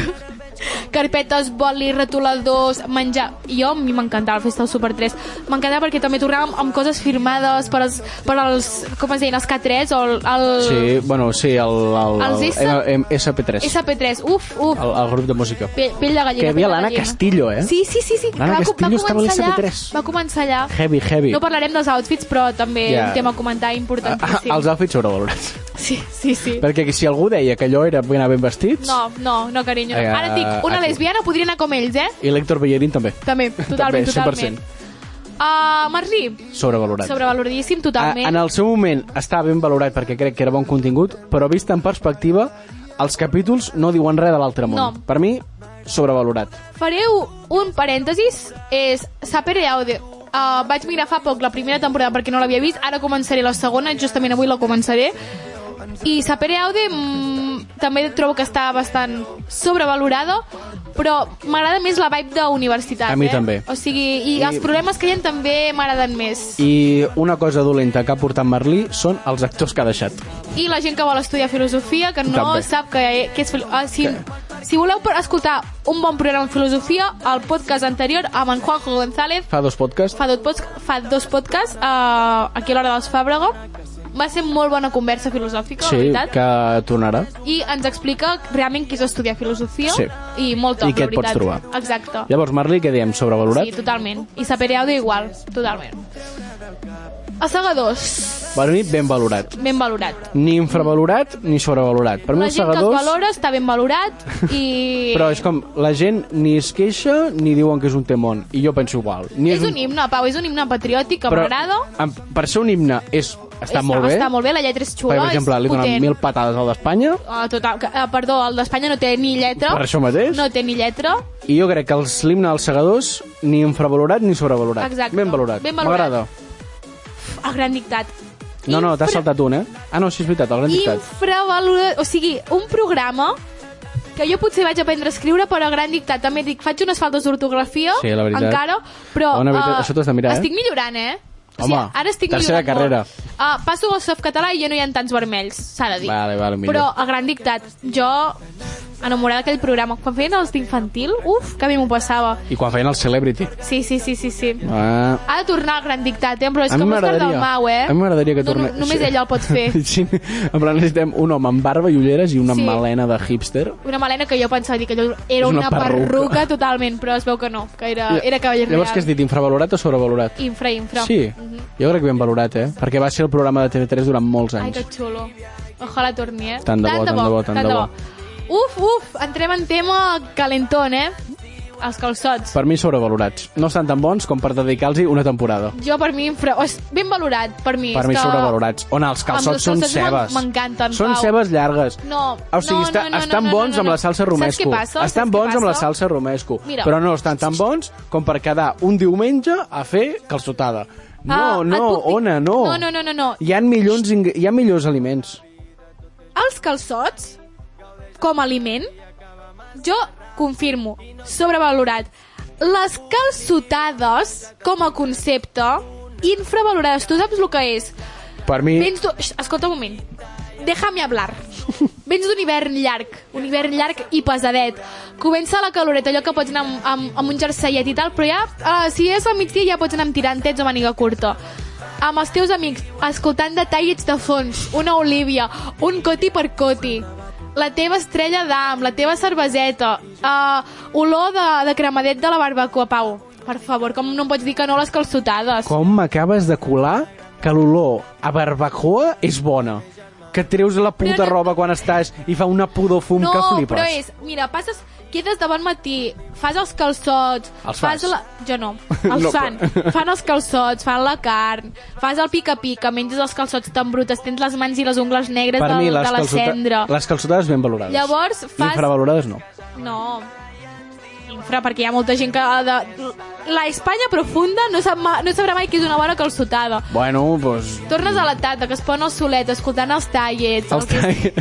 [SPEAKER 3] carpetes, bolis, retoladors, menjar... Jo, a mi m'encantava la festa del Super 3. M'encantava perquè també tornàvem amb coses firmades per als, per als com es deien, els K3 o el... el
[SPEAKER 1] Sí, bueno, sí, el, el,
[SPEAKER 3] Els
[SPEAKER 1] el,
[SPEAKER 3] S-
[SPEAKER 1] M- SP3.
[SPEAKER 3] SP3. Uf, uf.
[SPEAKER 1] El, el grup de música.
[SPEAKER 3] Pe- Pell de gallina.
[SPEAKER 1] Que hi havia
[SPEAKER 3] pell de
[SPEAKER 1] l'Anna
[SPEAKER 3] gallina.
[SPEAKER 1] Castillo, eh?
[SPEAKER 3] Sí, sí, sí. sí.
[SPEAKER 1] L'Anna
[SPEAKER 3] va, co-
[SPEAKER 1] Castillo
[SPEAKER 3] va
[SPEAKER 1] estava a
[SPEAKER 3] començar allà,
[SPEAKER 1] l'SP3.
[SPEAKER 3] Va començar allà.
[SPEAKER 1] Heavy, heavy.
[SPEAKER 3] No parlarem dels outfits, però també yeah.
[SPEAKER 1] Ja.
[SPEAKER 3] un tema a comentar
[SPEAKER 1] Ah,
[SPEAKER 3] importantíssim.
[SPEAKER 1] els outfits sobrevalorats.
[SPEAKER 3] Sí, sí, sí.
[SPEAKER 1] Perquè si algú deia que allò era ben ben vestits,
[SPEAKER 3] No, no, no, carinyo.
[SPEAKER 1] Eh,
[SPEAKER 3] Ara et dic, una
[SPEAKER 1] aquí.
[SPEAKER 3] lesbiana podria anar com ells, eh?
[SPEAKER 1] i l'Hector Bellerín també.
[SPEAKER 3] També, totalment,
[SPEAKER 1] també,
[SPEAKER 3] totalment. Uh, Marlí,
[SPEAKER 1] Sobrevalorat.
[SPEAKER 3] sobrevaloradíssim,
[SPEAKER 1] Ah,
[SPEAKER 3] totalment.
[SPEAKER 1] en el seu moment estava ben valorat perquè crec que era bon contingut, però vist en perspectiva, els capítols no diuen res de l'altre món.
[SPEAKER 3] No.
[SPEAKER 1] Per mi, sobrevalorat.
[SPEAKER 3] Fareu un parèntesis, és Sapere Aude. Uh, vaig mirar fa poc la primera temporada perquè no l'havia vist, ara començaré la segona, justament avui la començaré. I Sapere Aude mm, també trobo que està bastant sobrevalorada, però m'agrada més la vibe d'universitat.
[SPEAKER 1] A mi
[SPEAKER 3] eh?
[SPEAKER 1] també.
[SPEAKER 3] O sigui, i,
[SPEAKER 1] I-
[SPEAKER 3] els problemes que hi ha també m'agraden més.
[SPEAKER 1] I una cosa dolenta que ha portat Merlí són els actors que ha deixat.
[SPEAKER 3] I la gent que vol estudiar filosofia, que no
[SPEAKER 1] També.
[SPEAKER 3] sap que, que és... fil- Ah, si, si voleu per escoltar un bon programa de filosofia, el podcast anterior amb en Juanjo González
[SPEAKER 1] Fa dos podcasts.
[SPEAKER 3] fa dos, pods, fa dos podcasts uh, aquí a l'hora dels Fàbrega. Va ser molt bona conversa filosòfica, la
[SPEAKER 1] Sí,
[SPEAKER 3] veritat.
[SPEAKER 1] que tornarà.
[SPEAKER 3] I ens explica realment què és estudiar filosofia
[SPEAKER 1] Sí.
[SPEAKER 3] i molt top,
[SPEAKER 1] I què
[SPEAKER 3] la
[SPEAKER 1] et pots
[SPEAKER 3] veritat.
[SPEAKER 1] trobar.
[SPEAKER 3] Exacte.
[SPEAKER 1] Llavors, Merlí, què diem? Sobrevalorat?
[SPEAKER 3] Sí, totalment. I Sapere Aude igual, totalment. Assegadors,
[SPEAKER 1] Per mi, ben valorat.
[SPEAKER 3] ben valorat.
[SPEAKER 1] Ni infravalorat ni sobrevalorat. Per mi,
[SPEAKER 3] la
[SPEAKER 1] els
[SPEAKER 3] gent que els
[SPEAKER 1] segadors...
[SPEAKER 3] valora està ben valorat i...
[SPEAKER 1] Però és com, la gent ni es queixa ni diuen que és un temón. I jo penso igual. Ni
[SPEAKER 3] És un himne, Pau, és un himne patriòtic que
[SPEAKER 1] Però,
[SPEAKER 3] m'agrada.
[SPEAKER 1] em- Per ser un himne és, està, molt bé.
[SPEAKER 3] Està molt bé, la lletra és xula,
[SPEAKER 1] per exemple,
[SPEAKER 3] és
[SPEAKER 1] li donen
[SPEAKER 3] potent.
[SPEAKER 1] mil patades al d'Espanya
[SPEAKER 3] Ah, total, que- ah, perdó, el d'Espanya no té ni lletra.
[SPEAKER 1] Per això mateix.
[SPEAKER 3] No té ni lletra.
[SPEAKER 1] i jo crec que els l'himne dels segadors ni infravalorat ni sobrevalorat.
[SPEAKER 3] Exacte.
[SPEAKER 1] Ben valorat.
[SPEAKER 3] Ben valorat.
[SPEAKER 1] M'agrada.
[SPEAKER 3] El gran dictat.
[SPEAKER 1] No, no, t'has saltat un, eh? Ah, no, sí, és veritat, el gran dictat.
[SPEAKER 3] Infravalorat. O sigui, un programa que jo potser vaig aprendre a escriure, però a gran dictat. També et dic, faig unes faltes d'ortografia,
[SPEAKER 1] Sí, la veritat.
[SPEAKER 3] encara, però...
[SPEAKER 1] Bona veritat,
[SPEAKER 3] eh,
[SPEAKER 1] això t'ho has de mirar, eh?
[SPEAKER 3] Estic millorant, eh?
[SPEAKER 1] Home,
[SPEAKER 3] ara estic
[SPEAKER 1] tercera
[SPEAKER 3] millorant
[SPEAKER 1] carrera.
[SPEAKER 3] Molt. Uh, passo al softcatalà i ja no hi ha tants vermells, s'ha de dir.
[SPEAKER 1] Vale, vale, millor.
[SPEAKER 3] Però a gran dictat, jo enamorada d'aquell programa. Quan feien els d'infantil, uf, que a mi m'ho passava.
[SPEAKER 1] I quan feien el Celebrity.
[SPEAKER 3] Sí, sí, sí, sí, sí.
[SPEAKER 1] Ah.
[SPEAKER 3] Ha de tornar al Gran Dictat, eh? però és
[SPEAKER 1] a mi
[SPEAKER 3] com Òscar
[SPEAKER 1] m'agradaria.
[SPEAKER 3] Dalmau, eh?
[SPEAKER 1] A mi m'agradaria que
[SPEAKER 3] No, no,
[SPEAKER 1] tornés.
[SPEAKER 3] només ell el pot fer.
[SPEAKER 1] sí, en plan, necessitem un home amb barba i ulleres i una
[SPEAKER 3] Sí.
[SPEAKER 1] melena de hipster.
[SPEAKER 3] Una melena que jo pensava dir que allò
[SPEAKER 1] És
[SPEAKER 3] era
[SPEAKER 1] una
[SPEAKER 3] una, perruca.
[SPEAKER 1] perruca,
[SPEAKER 3] totalment, però es veu que no, que era, Ah, era cavaller real.
[SPEAKER 1] Llavors, què has dit? Infravalorat o sobrevalorat?
[SPEAKER 3] Infra, infra. Mhm.
[SPEAKER 1] Sí, jo crec que ben valorat, eh? Perquè va ser el programa de TV3 durant molts
[SPEAKER 3] Ai,
[SPEAKER 1] anys.
[SPEAKER 3] que xulo. Ojalà torni, eh?
[SPEAKER 1] Tant de bo, tant de bo, tant de bo.
[SPEAKER 3] Uf, uf, entrem en tema calentón, eh? Els calçots.
[SPEAKER 1] Per mi, sobrevalorats. No estan tan bons com per dedicar-los una temporada.
[SPEAKER 3] Jo, per mi, infra... o és ben valorat, per mi.
[SPEAKER 1] per mi
[SPEAKER 3] és que-
[SPEAKER 1] sobrevalorats. On els
[SPEAKER 3] Amb
[SPEAKER 1] calçots
[SPEAKER 3] els
[SPEAKER 1] són
[SPEAKER 3] calçots
[SPEAKER 1] cebes.
[SPEAKER 3] m'encanten,
[SPEAKER 1] Són
[SPEAKER 3] Pau.
[SPEAKER 1] cebes llargues.
[SPEAKER 3] No,
[SPEAKER 1] Ah, O sigui,
[SPEAKER 3] no,
[SPEAKER 1] està,
[SPEAKER 3] no, no,
[SPEAKER 1] estan
[SPEAKER 3] no, no,
[SPEAKER 1] bons
[SPEAKER 3] no, no.
[SPEAKER 1] amb la salsa romesco.
[SPEAKER 3] Saps què passa?
[SPEAKER 1] Estan
[SPEAKER 3] Saps què
[SPEAKER 1] bons amb la
[SPEAKER 3] passa?
[SPEAKER 1] salsa romesco.
[SPEAKER 3] Mira.
[SPEAKER 1] Però no estan tan bons com per quedar un diumenge a fer calçotada. No,
[SPEAKER 3] Ah, et
[SPEAKER 1] no,
[SPEAKER 3] puc dir-
[SPEAKER 1] Ona, no.
[SPEAKER 3] No, no, no, no, no.
[SPEAKER 1] Hi ha, millors, ing- hi ha millors aliments.
[SPEAKER 3] Els calçots, com a aliment, jo confirmo, sobrevalorat. Les calçotades, com a concepte, infravalorades. Tu saps el que és?
[SPEAKER 1] Per mi,
[SPEAKER 3] Vens d'un... Xx, Escolta un moment. Déjame hablar. Vens d'un hivern llarg, un hivern llarg i pesadet. Comença la caloreta, allò que pots anar amb, amb, amb un jerseiet i tal, però ja, eh, si és al migdia, ja pots anar amb tirantets o maniga curta. Amb els teus amics, escoltant detallets de fons, una olívia, un coti per coti, la teva estrella d'am, la teva cerveseta, eh, olor de, de cremadet de la barbacoa, Pau. Per favor, com no em pots dir que no a les calçotades?
[SPEAKER 1] com m'acabes de colar que l'olor a barbacoa és bona? Que treus la puta roba quan estàs i fa una pudor fum
[SPEAKER 3] no,
[SPEAKER 1] que flipes.
[SPEAKER 3] però és... Mira, passes... Quedes de bon matí, fas els calçots...
[SPEAKER 1] Els fas.
[SPEAKER 3] La... Jo no. Els
[SPEAKER 1] No,
[SPEAKER 3] fan.
[SPEAKER 1] però-
[SPEAKER 3] Fan els calçots, fan la carn, fas el pica-pica, menges els calçots tan brutes, tens les mans i les ungles negres
[SPEAKER 1] per
[SPEAKER 3] del,
[SPEAKER 1] mi, les,
[SPEAKER 3] de la
[SPEAKER 1] calçota-
[SPEAKER 3] cendra.
[SPEAKER 1] les calçotades ben valorades.
[SPEAKER 3] Llavors, fas...
[SPEAKER 1] Infravalorades no.
[SPEAKER 3] No. Infra, perquè hi ha molta gent que... ha ah, De... la Espanya profunda no, sap ma, no sabrà mai que és una bona calçotada.
[SPEAKER 1] Bueno, doncs...
[SPEAKER 3] Tornes a la tata, que es pon el solet, escoltant els tallets, el que-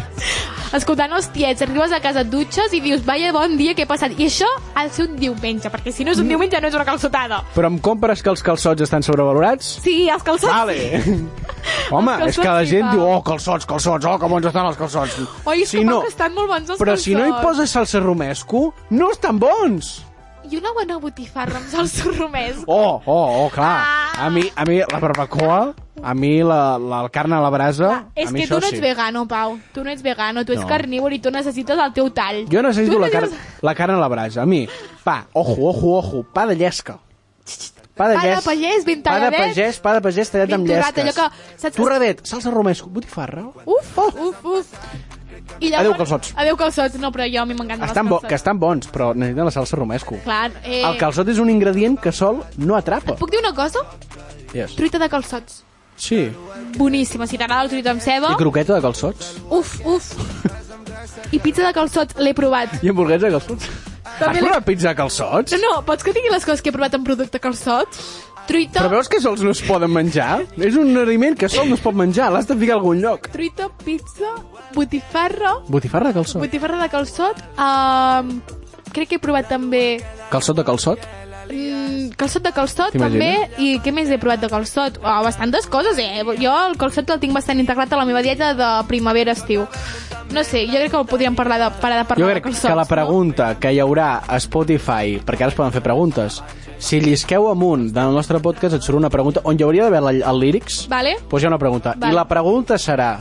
[SPEAKER 3] escoltant els tiets, arribes a casa, et dutxes i dius, vaya bon dia que he passat. I això ha de ser un diumenge, perquè si no
[SPEAKER 1] Mm.
[SPEAKER 3] és un diumenge no és una calçotada.
[SPEAKER 1] Però em compres que els calçots estan sobrevalorats?
[SPEAKER 3] Sí, els calçots...
[SPEAKER 1] Vale. Home,
[SPEAKER 3] Els
[SPEAKER 1] és que la
[SPEAKER 3] calçots sí,
[SPEAKER 1] gent
[SPEAKER 3] va.
[SPEAKER 1] diu, oh, calçots, calçots, oh, que bons estan els calçots.
[SPEAKER 3] Oi, és si
[SPEAKER 1] si
[SPEAKER 3] que no,
[SPEAKER 1] no,
[SPEAKER 3] que estan molt bons els
[SPEAKER 1] però si no hi
[SPEAKER 3] calçots.
[SPEAKER 1] poses salsa romesco, no estan bons.
[SPEAKER 3] I una bona botifarra amb salsa romès.
[SPEAKER 1] Oh, oh, oh, clar.
[SPEAKER 3] Ah.
[SPEAKER 1] A mi, a mi la barbacoa, a mi la, la, la carn a la brasa,
[SPEAKER 3] És
[SPEAKER 1] a mi
[SPEAKER 3] que
[SPEAKER 1] això
[SPEAKER 3] tu no ets
[SPEAKER 1] sí.
[SPEAKER 3] vegano, Pau. Tu no ets vegano, tu ets
[SPEAKER 1] No.
[SPEAKER 3] carnívor i tu necessites el teu tall.
[SPEAKER 1] Jo necessito
[SPEAKER 3] Tu
[SPEAKER 1] la, car la carn a la brasa. A mi, pa, ojo, ojo, ojo, pa de llesca. Pa de,
[SPEAKER 3] Pa de
[SPEAKER 1] llesca.
[SPEAKER 3] pagès, ben
[SPEAKER 1] Pa de
[SPEAKER 3] talladet.
[SPEAKER 1] pagès, pa de pagès tallat
[SPEAKER 3] Ben
[SPEAKER 1] amb
[SPEAKER 3] torrat, allò
[SPEAKER 1] llesques.
[SPEAKER 3] que- saps que-
[SPEAKER 1] Torradet, salsa romesco, botifarra.
[SPEAKER 3] Uf, uf, uf. I
[SPEAKER 1] Adéu, calçots.
[SPEAKER 3] Adéu, calçots. No, però jo a mi m'encanten els
[SPEAKER 1] Estan bo,
[SPEAKER 3] calçots.
[SPEAKER 1] que estan bons, però necessiten la salsa romesco.
[SPEAKER 3] Clar, eh...
[SPEAKER 1] El calçot és un ingredient que sol no atrapa.
[SPEAKER 3] Puc dir una cosa?
[SPEAKER 1] Yes.
[SPEAKER 3] Truita de calçots.
[SPEAKER 1] Sí.
[SPEAKER 3] Boníssima. Si t'agrada el truita amb ceba...
[SPEAKER 1] I croqueta de calçots.
[SPEAKER 3] Uf, uf. I pizza de calçots, l'he provat.
[SPEAKER 1] I hamburguesa de calçots. Has
[SPEAKER 3] També li-
[SPEAKER 1] provat pizza de calçots?
[SPEAKER 3] No, pots que digui les coses que he provat en producte calçots? Truita,
[SPEAKER 1] Però veus que sols no es poden menjar? És un aliment que sol no es pot menjar, l'has de ficar a algun lloc.
[SPEAKER 3] truita, pizza, botifarra,
[SPEAKER 1] Botifarra de calçot.
[SPEAKER 3] botifarra de calçot, um, crec que he provat també
[SPEAKER 1] Calçot de calçot?
[SPEAKER 3] mm, calçot de calçot també,
[SPEAKER 1] T'imagines?
[SPEAKER 3] i què més he provat de calçot? Oh, bastantes coses, eh? Jo el calçot el tinc bastant integrat a la meva dieta de primavera-estiu. No sé, jo crec que podríem parlar de, parar de parlar
[SPEAKER 1] Jo crec
[SPEAKER 3] de calçots.
[SPEAKER 1] que la pregunta que hi haurà a Spotify, perquè ara es poden fer preguntes, si llisqueu amunt del nostre podcast et surt una pregunta on hi hauria d'haver la- el lírics,
[SPEAKER 3] Vale?
[SPEAKER 1] doncs hi ha una pregunta.
[SPEAKER 3] Vale.
[SPEAKER 1] I la pregunta serà,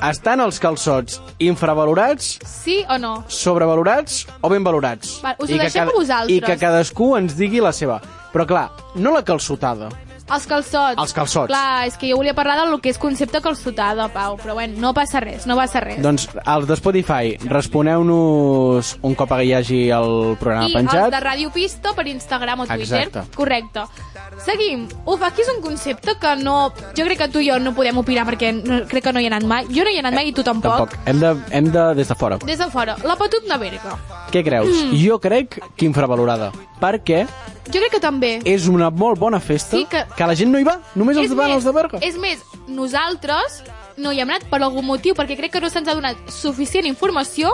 [SPEAKER 1] estan els calçots infravalorats,
[SPEAKER 3] Sí o no?
[SPEAKER 1] sobrevalorats o ben valorats?
[SPEAKER 3] Vale, us ho
[SPEAKER 1] I que
[SPEAKER 3] deixem a vosaltres.
[SPEAKER 1] I que cadascú ens digui la seva. Però clar, no la calçotada.
[SPEAKER 3] Els calçots.
[SPEAKER 1] Els calçots.
[SPEAKER 3] Clar, és que jo volia parlar del que és concepte calçotada, Pau, però bueno, no passa res, no passa res.
[SPEAKER 1] Doncs els de Spotify, responeu-nos un cop hi hagi el programa
[SPEAKER 3] I
[SPEAKER 1] penjat.
[SPEAKER 3] els de Ràdio Pisto per Instagram o Twitter.
[SPEAKER 1] Exacte.
[SPEAKER 3] Correcte. Seguim. Uf, aquí és un concepte que no... Jo crec que tu i jo no podem opinar perquè no, crec que no hi he anat mai. Jo no hi he anat mai i tu tampoc.
[SPEAKER 1] Eh, Tampoc. Hem de, hem de des de fora.
[SPEAKER 3] Des de fora. La Patut Naverga.
[SPEAKER 1] Què creus?
[SPEAKER 3] Mm.
[SPEAKER 1] Jo crec que infravalorada. Perquè
[SPEAKER 3] Jo crec que també.
[SPEAKER 1] és una molt bona festa
[SPEAKER 3] Sí que-
[SPEAKER 1] que la gent no hi va, només els
[SPEAKER 3] És
[SPEAKER 1] van
[SPEAKER 3] més,
[SPEAKER 1] els de Berga.
[SPEAKER 3] És més, nosaltres no hi hem anat per algun motiu, perquè crec que no se'ns ha donat suficient informació.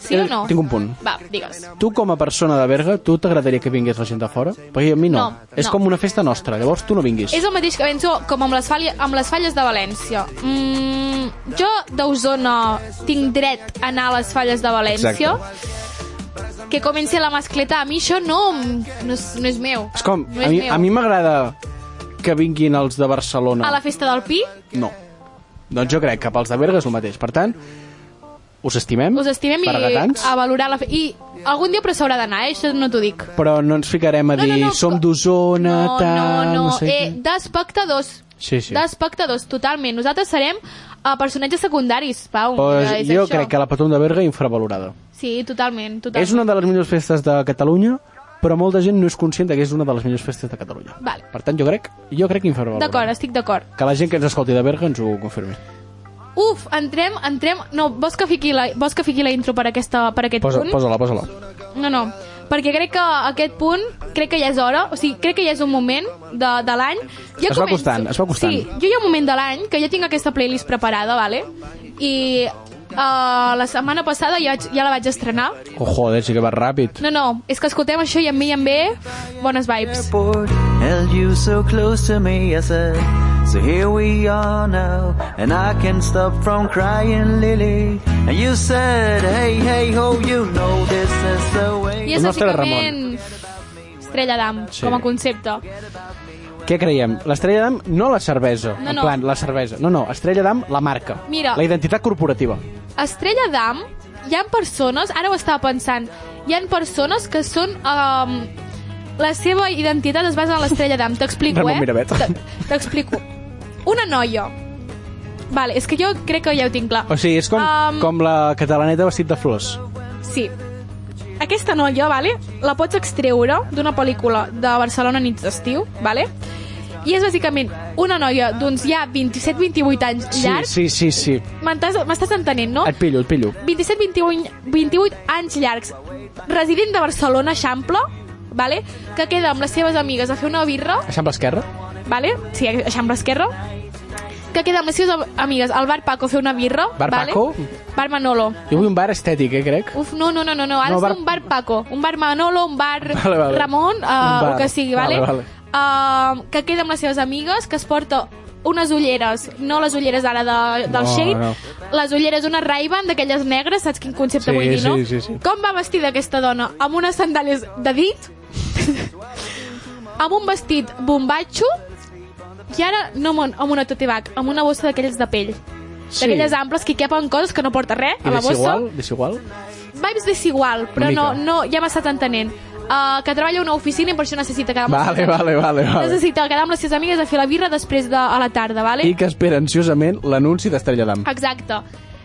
[SPEAKER 3] Sí
[SPEAKER 1] Eh,
[SPEAKER 3] o no?
[SPEAKER 1] tinc un punt.
[SPEAKER 3] Va, digues.
[SPEAKER 1] Tu, com a persona de Berga, tu t'agradaria que vingués la gent de fora? Perquè a mi no.
[SPEAKER 3] No,
[SPEAKER 1] és
[SPEAKER 3] no.
[SPEAKER 1] com una festa nostra, llavors tu no vinguis.
[SPEAKER 3] És el mateix que penso com amb les, falles, amb les falles de València. Mm, jo d'Osona tinc dret a anar a les falles de València. Que comenci la mascleta. A mi això no, no, és, no és meu.
[SPEAKER 1] És com,
[SPEAKER 3] no
[SPEAKER 1] a
[SPEAKER 3] és
[SPEAKER 1] mi
[SPEAKER 3] meu.
[SPEAKER 1] a mi m'agrada que vinguin els de Barcelona.
[SPEAKER 3] A la festa del Pi
[SPEAKER 1] No. Doncs jo crec que pels de Berga és el mateix. Per tant, us estimem,
[SPEAKER 3] us estimem i
[SPEAKER 1] berguedans,
[SPEAKER 3] a valorar la fe... I algun dia però s'haurà d'anar, eh? això no t'ho dic.
[SPEAKER 1] però no ens ficarem a
[SPEAKER 3] No,
[SPEAKER 1] dir
[SPEAKER 3] no, no,
[SPEAKER 1] som d'Osona,
[SPEAKER 3] No, no,
[SPEAKER 1] tal...
[SPEAKER 3] no.
[SPEAKER 1] no sé
[SPEAKER 3] eh, D'espectadors.
[SPEAKER 1] què. Sí, sí.
[SPEAKER 3] D'espectadors, totalment. Nosaltres serem uh, personatges secundaris, Pau.
[SPEAKER 1] Pues
[SPEAKER 3] Ja és
[SPEAKER 1] jo
[SPEAKER 3] això.
[SPEAKER 1] crec que la Patum de Berga infravalorada.
[SPEAKER 3] Sí, totalment. totalment.
[SPEAKER 1] És una de les millors festes de Catalunya, però molta gent no és conscient de que és una de les millors festes de Catalunya.
[SPEAKER 3] Vale.
[SPEAKER 1] Per tant, jo crec, jo crec que infravalorada.
[SPEAKER 3] D'acord, estic d'acord.
[SPEAKER 1] Que la gent que ens escolti de Berga ens ho confirmi.
[SPEAKER 3] Uf, entrem, entrem... No, vols que fiqui la, vols que fiqui la intro per, aquesta, per aquest
[SPEAKER 1] Posa-
[SPEAKER 3] punt?
[SPEAKER 1] Posa-la, posa-la.
[SPEAKER 3] No, no, perquè crec que aquest punt, crec que ja és hora, o sigui, crec que ja és un moment de, de l'any. Ja
[SPEAKER 1] Es va costant, es va costant.
[SPEAKER 3] Sí, jo hi ha un moment de l'any que ja tinc aquesta playlist preparada, vale? I uh, la setmana passada ja, vaig- ja la vaig estrenar.
[SPEAKER 1] Oh, joder, sí que va ràpid.
[SPEAKER 3] No, no, és que escoltem això i a mi em ve bones vibes.
[SPEAKER 13] held you so close to me, I said, so here we are now, and I can't stop from crying, Lily. And you said, hey, hey, ho, you know this is the way.
[SPEAKER 3] I és bàsicament Estrella d'Am,
[SPEAKER 1] Sí.
[SPEAKER 3] sí. com a concepte.
[SPEAKER 1] Què creiem? L'estrella d'am, no la cervesa.
[SPEAKER 3] No,
[SPEAKER 1] en
[SPEAKER 3] no.
[SPEAKER 1] plan, la cervesa. No, no, estrella d'am, la marca.
[SPEAKER 3] Mira.
[SPEAKER 1] La identitat corporativa.
[SPEAKER 3] Estrella d'Am, hi han persones, ara ho estava pensant, hi han persones que són... Um, la seva identitat es basa en l'Estrella d'Am. T'explico,
[SPEAKER 1] Ramon
[SPEAKER 3] eh?
[SPEAKER 1] Miravet.
[SPEAKER 3] T- T'explico. Una noia. Vale, és que jo crec que ja ho tinc clar.
[SPEAKER 1] O sigui, és com,
[SPEAKER 3] Am,
[SPEAKER 1] com la catalaneta vestit de flors.
[SPEAKER 3] Sí. Aquesta noia, vale, la pots extreure d'una pel·lícula de Barcelona nits d'estiu, vale? i és bàsicament una noia d'uns ja 27-28 anys llargs.
[SPEAKER 1] Sí, sí, sí, sí.
[SPEAKER 3] M'entàs- M'estàs entenent, no?
[SPEAKER 1] Et pillo, et pillo.
[SPEAKER 3] 27-28 28 anys llargs, resident de Barcelona, Eixample, vale? que queda amb les seves amigues a fer una birra,
[SPEAKER 1] Eixample esquerra.
[SPEAKER 3] vale? sí, eixample esquerra, que queda amb les seves amigues al bar Paco a fer una birra.
[SPEAKER 1] Bar
[SPEAKER 3] vale? Uh,
[SPEAKER 1] Paco?
[SPEAKER 3] Bar Manolo.
[SPEAKER 1] Jo vull un bar estètic, eh, crec.
[SPEAKER 3] Uf, no, no, no, no, no. ara
[SPEAKER 1] No,
[SPEAKER 3] no,
[SPEAKER 1] bar-
[SPEAKER 3] un bar Paco, un bar Manolo, un bar
[SPEAKER 1] Vale, vale.
[SPEAKER 3] Ramon, uh,
[SPEAKER 1] bar.
[SPEAKER 3] el que sigui, vale?
[SPEAKER 1] Vale, vale.
[SPEAKER 3] Uh, que queda amb les seves amigues, que es porta unes ulleres, no les ulleres ara de, del
[SPEAKER 1] No,
[SPEAKER 3] Shade,
[SPEAKER 1] no.
[SPEAKER 3] les ulleres d'una Ray-Ban d'aquelles negres, saps quin concepte
[SPEAKER 1] Sí,
[SPEAKER 3] vull dir, no?
[SPEAKER 1] sí, sí, sí.
[SPEAKER 3] Com va vestida aquesta dona? Amb unes sandàlies de dit, amb un vestit bombatxo, i ara no amb, un- amb una tote bag, amb una bossa d'aquelles de pell.
[SPEAKER 1] Sí.
[SPEAKER 3] D'aquelles amples que hi capen coses que no porta res
[SPEAKER 1] I
[SPEAKER 3] a la bossa
[SPEAKER 1] desigual, desigual.
[SPEAKER 3] vibes desigual, però
[SPEAKER 1] Una
[SPEAKER 3] no,
[SPEAKER 1] mica.
[SPEAKER 3] no, ja m'ha estat entenent. Uh, que treballa a una oficina i per això necessita quedar amb les
[SPEAKER 1] Vale,
[SPEAKER 3] seves amigues.
[SPEAKER 1] vale, vale, vale.
[SPEAKER 3] Necessita quedar amb les seves amigues a fer la birra després de a la tarda, vale?
[SPEAKER 1] I que espera ansiosament l'anunci d'Estrella d'Am.
[SPEAKER 3] Exacte.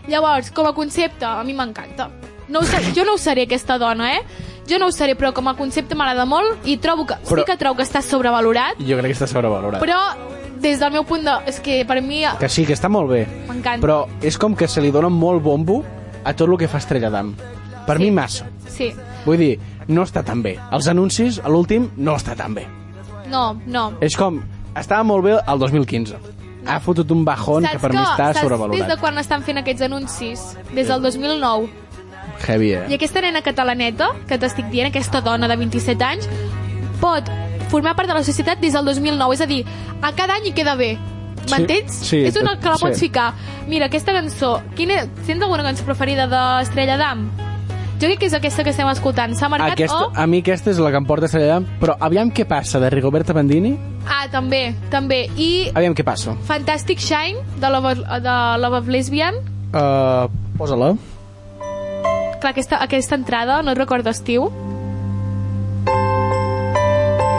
[SPEAKER 3] Llavors, com a concepte, a mi m'encanta. No ho sé, jo no ho seré, aquesta dona, eh? Jo no ho seré, però com a concepte m'agrada molt i trobo que,
[SPEAKER 1] Però-
[SPEAKER 3] sí que trobo que està sobrevalorat,
[SPEAKER 1] Jo crec que està sobrevalorat.
[SPEAKER 3] però des del meu punt de... És que per mi
[SPEAKER 1] Que sí, que està molt bé.
[SPEAKER 3] m'encanta.
[SPEAKER 1] Però és com que se li dona molt bombo a tot el que fa Estrella d'Am. Per mi massa.
[SPEAKER 3] Sí.
[SPEAKER 1] Vull dir, no està tan bé. Els anuncis, a l'últim, no està tan bé.
[SPEAKER 3] No, no.
[SPEAKER 1] És com, estava molt bé el 2015. Ha fotut un bajón que per mi està
[SPEAKER 3] saps des de
[SPEAKER 1] sobrevalorat.
[SPEAKER 3] quan estan fent aquests anuncis? Des del 2009.
[SPEAKER 1] Heavy,
[SPEAKER 3] I
[SPEAKER 1] eh?
[SPEAKER 3] aquesta nena catalaneta, que t'estic dient, aquesta dona de 27 anys, pot formar part de la societat des del 2009. És a dir, a cada any hi queda bé. M'entens?
[SPEAKER 14] Sí,
[SPEAKER 3] és
[SPEAKER 1] eh,
[SPEAKER 3] una que la pots
[SPEAKER 14] sí.
[SPEAKER 3] ficar. Mira, aquesta cançó, quina, tens alguna cançó preferida d'Estrella d'Am? Jo crec que és aquesta que estem escoltant. S'ha marcat oh?
[SPEAKER 1] Aquesta,
[SPEAKER 3] o...
[SPEAKER 1] a mi aquesta és la que em porta Estrella d'Am. Però aviam què passa de Rigoberta Bandini.
[SPEAKER 3] Ah, també, també. I
[SPEAKER 1] Aviam què passa.
[SPEAKER 3] Fantastic Shine, de Love, de Love of Lesbian.
[SPEAKER 1] Uh, Posa-la.
[SPEAKER 3] Clar, aquesta, aquesta entrada, no et recordes, tio?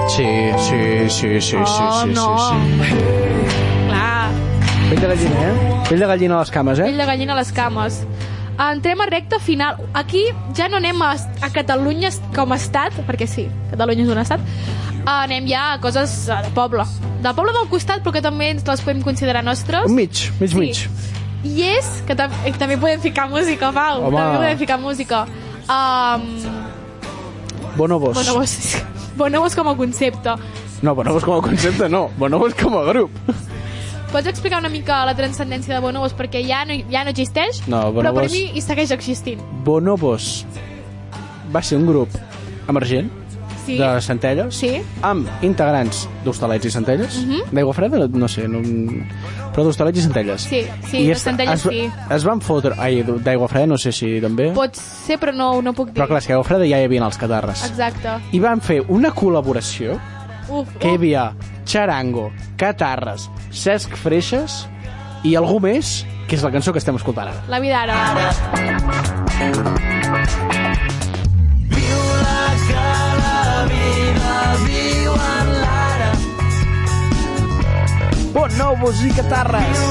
[SPEAKER 1] Sí, sí, sí, sí, sí,
[SPEAKER 3] Oh,
[SPEAKER 1] sí,
[SPEAKER 3] no.
[SPEAKER 1] sí,
[SPEAKER 3] Clar.
[SPEAKER 1] sí. Pell de gallina, eh? Pell de gallina a les cames, eh?
[SPEAKER 3] Pell de gallina a les cames. Entrem a recta final. Aquí ja no anem a, a Catalunya com a estat, perquè sí, Catalunya és un estat. Ah, Anem ja a coses eh, de poble. Del poble del costat, però que també ens les podem considerar nostres.
[SPEAKER 1] Un mig, mig,
[SPEAKER 3] Sí.
[SPEAKER 1] mig.
[SPEAKER 3] I és, que tam eh, també podem ficar música, Pau.
[SPEAKER 1] Home.
[SPEAKER 3] També podem ficar música. Um,
[SPEAKER 1] Bonobos.
[SPEAKER 3] bonobos. Bonobos com a concepte.
[SPEAKER 1] No, bonobos com a concepte, no. Bonobos com a grup.
[SPEAKER 3] Pots explicar una mica la transcendència de bonobos? Perquè ja no, ja no existeix,
[SPEAKER 1] No,
[SPEAKER 3] però per
[SPEAKER 1] bonobos-
[SPEAKER 3] mi hi segueix existint.
[SPEAKER 1] Bonobos va ser un grup emergent
[SPEAKER 3] Sí.
[SPEAKER 1] de Centelles
[SPEAKER 3] Sí.
[SPEAKER 1] amb integrants d'Hostalets i Centelles
[SPEAKER 3] Mhm.
[SPEAKER 1] d'aigua freda, no, no sé no, però d'Hostalets i Centelles
[SPEAKER 3] Sí, sí, de
[SPEAKER 1] es-
[SPEAKER 3] Centelles
[SPEAKER 1] es, va-
[SPEAKER 3] sí.
[SPEAKER 1] es van fotre ai, d'aigua freda no sé si també
[SPEAKER 3] Pot ser, però no, no puc dir.
[SPEAKER 1] però clar, és que a aigua freda ja hi havia els catarres
[SPEAKER 3] Exacte.
[SPEAKER 1] i van fer una col·laboració
[SPEAKER 3] Uf,
[SPEAKER 1] que hi havia Charango, Catarres, Cesc Freixas i algú més, que és la cançó que estem escoltant ara.
[SPEAKER 3] la vida ara.
[SPEAKER 1] Bonobos i Catarres.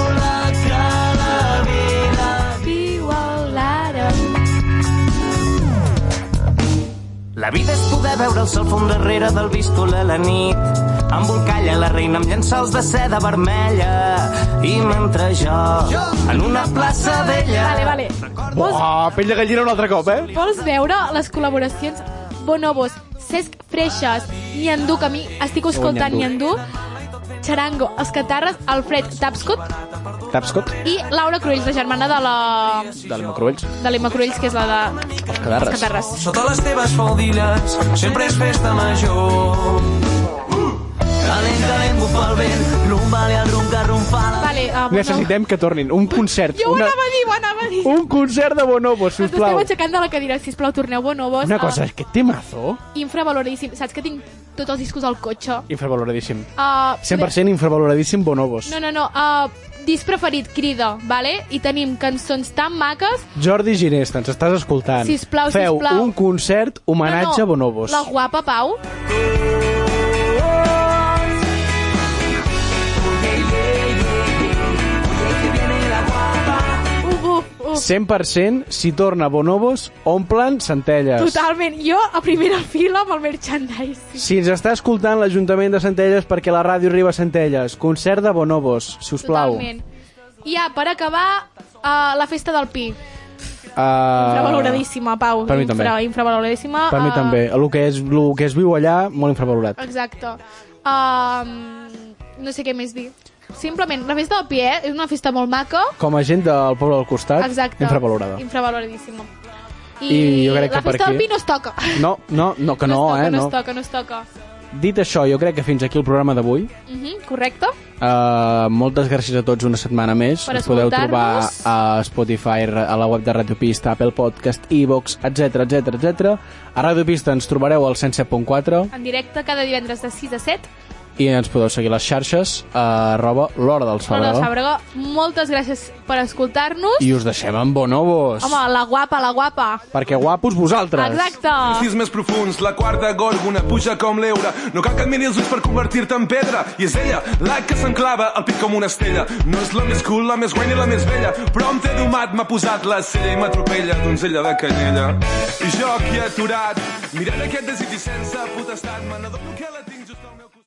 [SPEAKER 3] Viu el ara.
[SPEAKER 14] La vida és poder veure el sol fum darrere del bístol a la nit. Embolcalla la reina amb llençols de seda vermella. I mentre jo, en una plaça vella...
[SPEAKER 3] Vale, vale.
[SPEAKER 1] Oh, pell de gallina un altre cop, eh?
[SPEAKER 3] Vols veure les col·laboracions Bonobos, Cesc Freixas, Niandu, que a mi estic escoltant
[SPEAKER 1] Oh,
[SPEAKER 3] Niandu,
[SPEAKER 1] Ñandú.
[SPEAKER 3] Charango, Els Catarres, Alfred Tapscott
[SPEAKER 1] Tapscot,
[SPEAKER 3] i Laura Cruells, la germana de la...
[SPEAKER 1] del Macroells.
[SPEAKER 3] de l'Emma Cruells, que és la de...
[SPEAKER 1] Els
[SPEAKER 3] Els
[SPEAKER 1] cadarres.
[SPEAKER 3] Catarres.
[SPEAKER 15] Sota les teves faldilles sempre és festa major.
[SPEAKER 13] Calent, calent, bufa el vent, rumbale al rumba, rumpala.
[SPEAKER 3] Vale, uh,
[SPEAKER 1] Necessitem que tornin un concert.
[SPEAKER 3] Jo ho anava a dir, ho anava a dir.
[SPEAKER 1] Un concert de Bonobo, sisplau.
[SPEAKER 3] Esteu aixecant de la cadira, sisplau, torneu Bonobos.
[SPEAKER 1] Una cosa,
[SPEAKER 3] eh,
[SPEAKER 1] que temazo.
[SPEAKER 3] infravaloradíssim. Saps que tinc tots els discos al cotxe?
[SPEAKER 1] Infravaloradíssim.
[SPEAKER 3] Uh,
[SPEAKER 1] 100% infravaloradíssim Bonobos.
[SPEAKER 3] No, no, no. Uh, disc preferit, crida, vale? I tenim cançons tan maques...
[SPEAKER 1] Jordi Ginesta, ens estàs escoltant.
[SPEAKER 3] Sisplau,
[SPEAKER 1] Feu
[SPEAKER 3] sisplau.
[SPEAKER 1] un concert homenatge
[SPEAKER 3] no,
[SPEAKER 1] a Bonobos.
[SPEAKER 3] La guapa, Pau. Uh, Uf, uf, uf.
[SPEAKER 1] 100% si torna Bonobos, omplen centelles.
[SPEAKER 3] Totalment. Jo a primera fila amb el merchandise.
[SPEAKER 1] Si ens està escoltant l'Ajuntament de Centelles perquè la ràdio arriba a Centelles, concert de Bonobos, si us plau.
[SPEAKER 3] ah, Totalment. I ja, per acabar, uh, la festa del Pi. Infravaloradíssima, Pau.
[SPEAKER 1] Per mi també.
[SPEAKER 3] Infra, infravaloradíssima.
[SPEAKER 1] Ah, Per mi
[SPEAKER 3] eh,
[SPEAKER 1] també. El que, és, el que es viu allà, molt infravalorat.
[SPEAKER 3] Exacte. Um, no sé què més dir. Simplement, la festa del Pi, eh? És una festa molt maca.
[SPEAKER 1] Com a gent del poble del costat,
[SPEAKER 3] Exacte.
[SPEAKER 1] infravalorada.
[SPEAKER 3] Infravaloradíssima.
[SPEAKER 1] I jo crec que
[SPEAKER 3] la
[SPEAKER 1] per
[SPEAKER 3] festa del
[SPEAKER 1] aquí-
[SPEAKER 3] Pi no es toca.
[SPEAKER 1] No, no, no, que no,
[SPEAKER 3] no,
[SPEAKER 1] eh?
[SPEAKER 3] no,
[SPEAKER 1] No.
[SPEAKER 3] es toca, no es toca.
[SPEAKER 1] Dit això, jo crec que fins aquí el programa d'avui.
[SPEAKER 3] Mhm, correcte.
[SPEAKER 1] Uh, moltes gràcies a tots una setmana més.
[SPEAKER 3] Per
[SPEAKER 1] Ens podeu trobar
[SPEAKER 3] escoltar-nos.
[SPEAKER 1] a Spotify, a la web de Radio Pista, Apple Podcast, iVox, etc etc etc. A Radio Pista ens trobareu al 107.4
[SPEAKER 3] En directe cada divendres de 6 a 7.
[SPEAKER 1] i ens podeu seguir a les xarxes a arroba l'hora del
[SPEAKER 3] Hora del
[SPEAKER 1] Sabadell.
[SPEAKER 3] Sàbrega. Moltes gràcies per escoltar-nos.
[SPEAKER 1] I us deixem amb bonobos.
[SPEAKER 3] Home, la guapa, la guapa.
[SPEAKER 1] Perquè guapos vosaltres.
[SPEAKER 3] Exacte.
[SPEAKER 16] Cis més profuns, la quarta gòrgona puja com l'eure. No cal que et miri els ulls per convertir-te en pedra. I és ella, la que s'enclava al pit com una estrella. No és la més cool, la més guai ni la més vella, però em té domat, m'ha posat la sella i m'atropella, donzella de canella. I jo aquí aturat, mirant aquest desig i sense potestat, me n'adono que la tinc.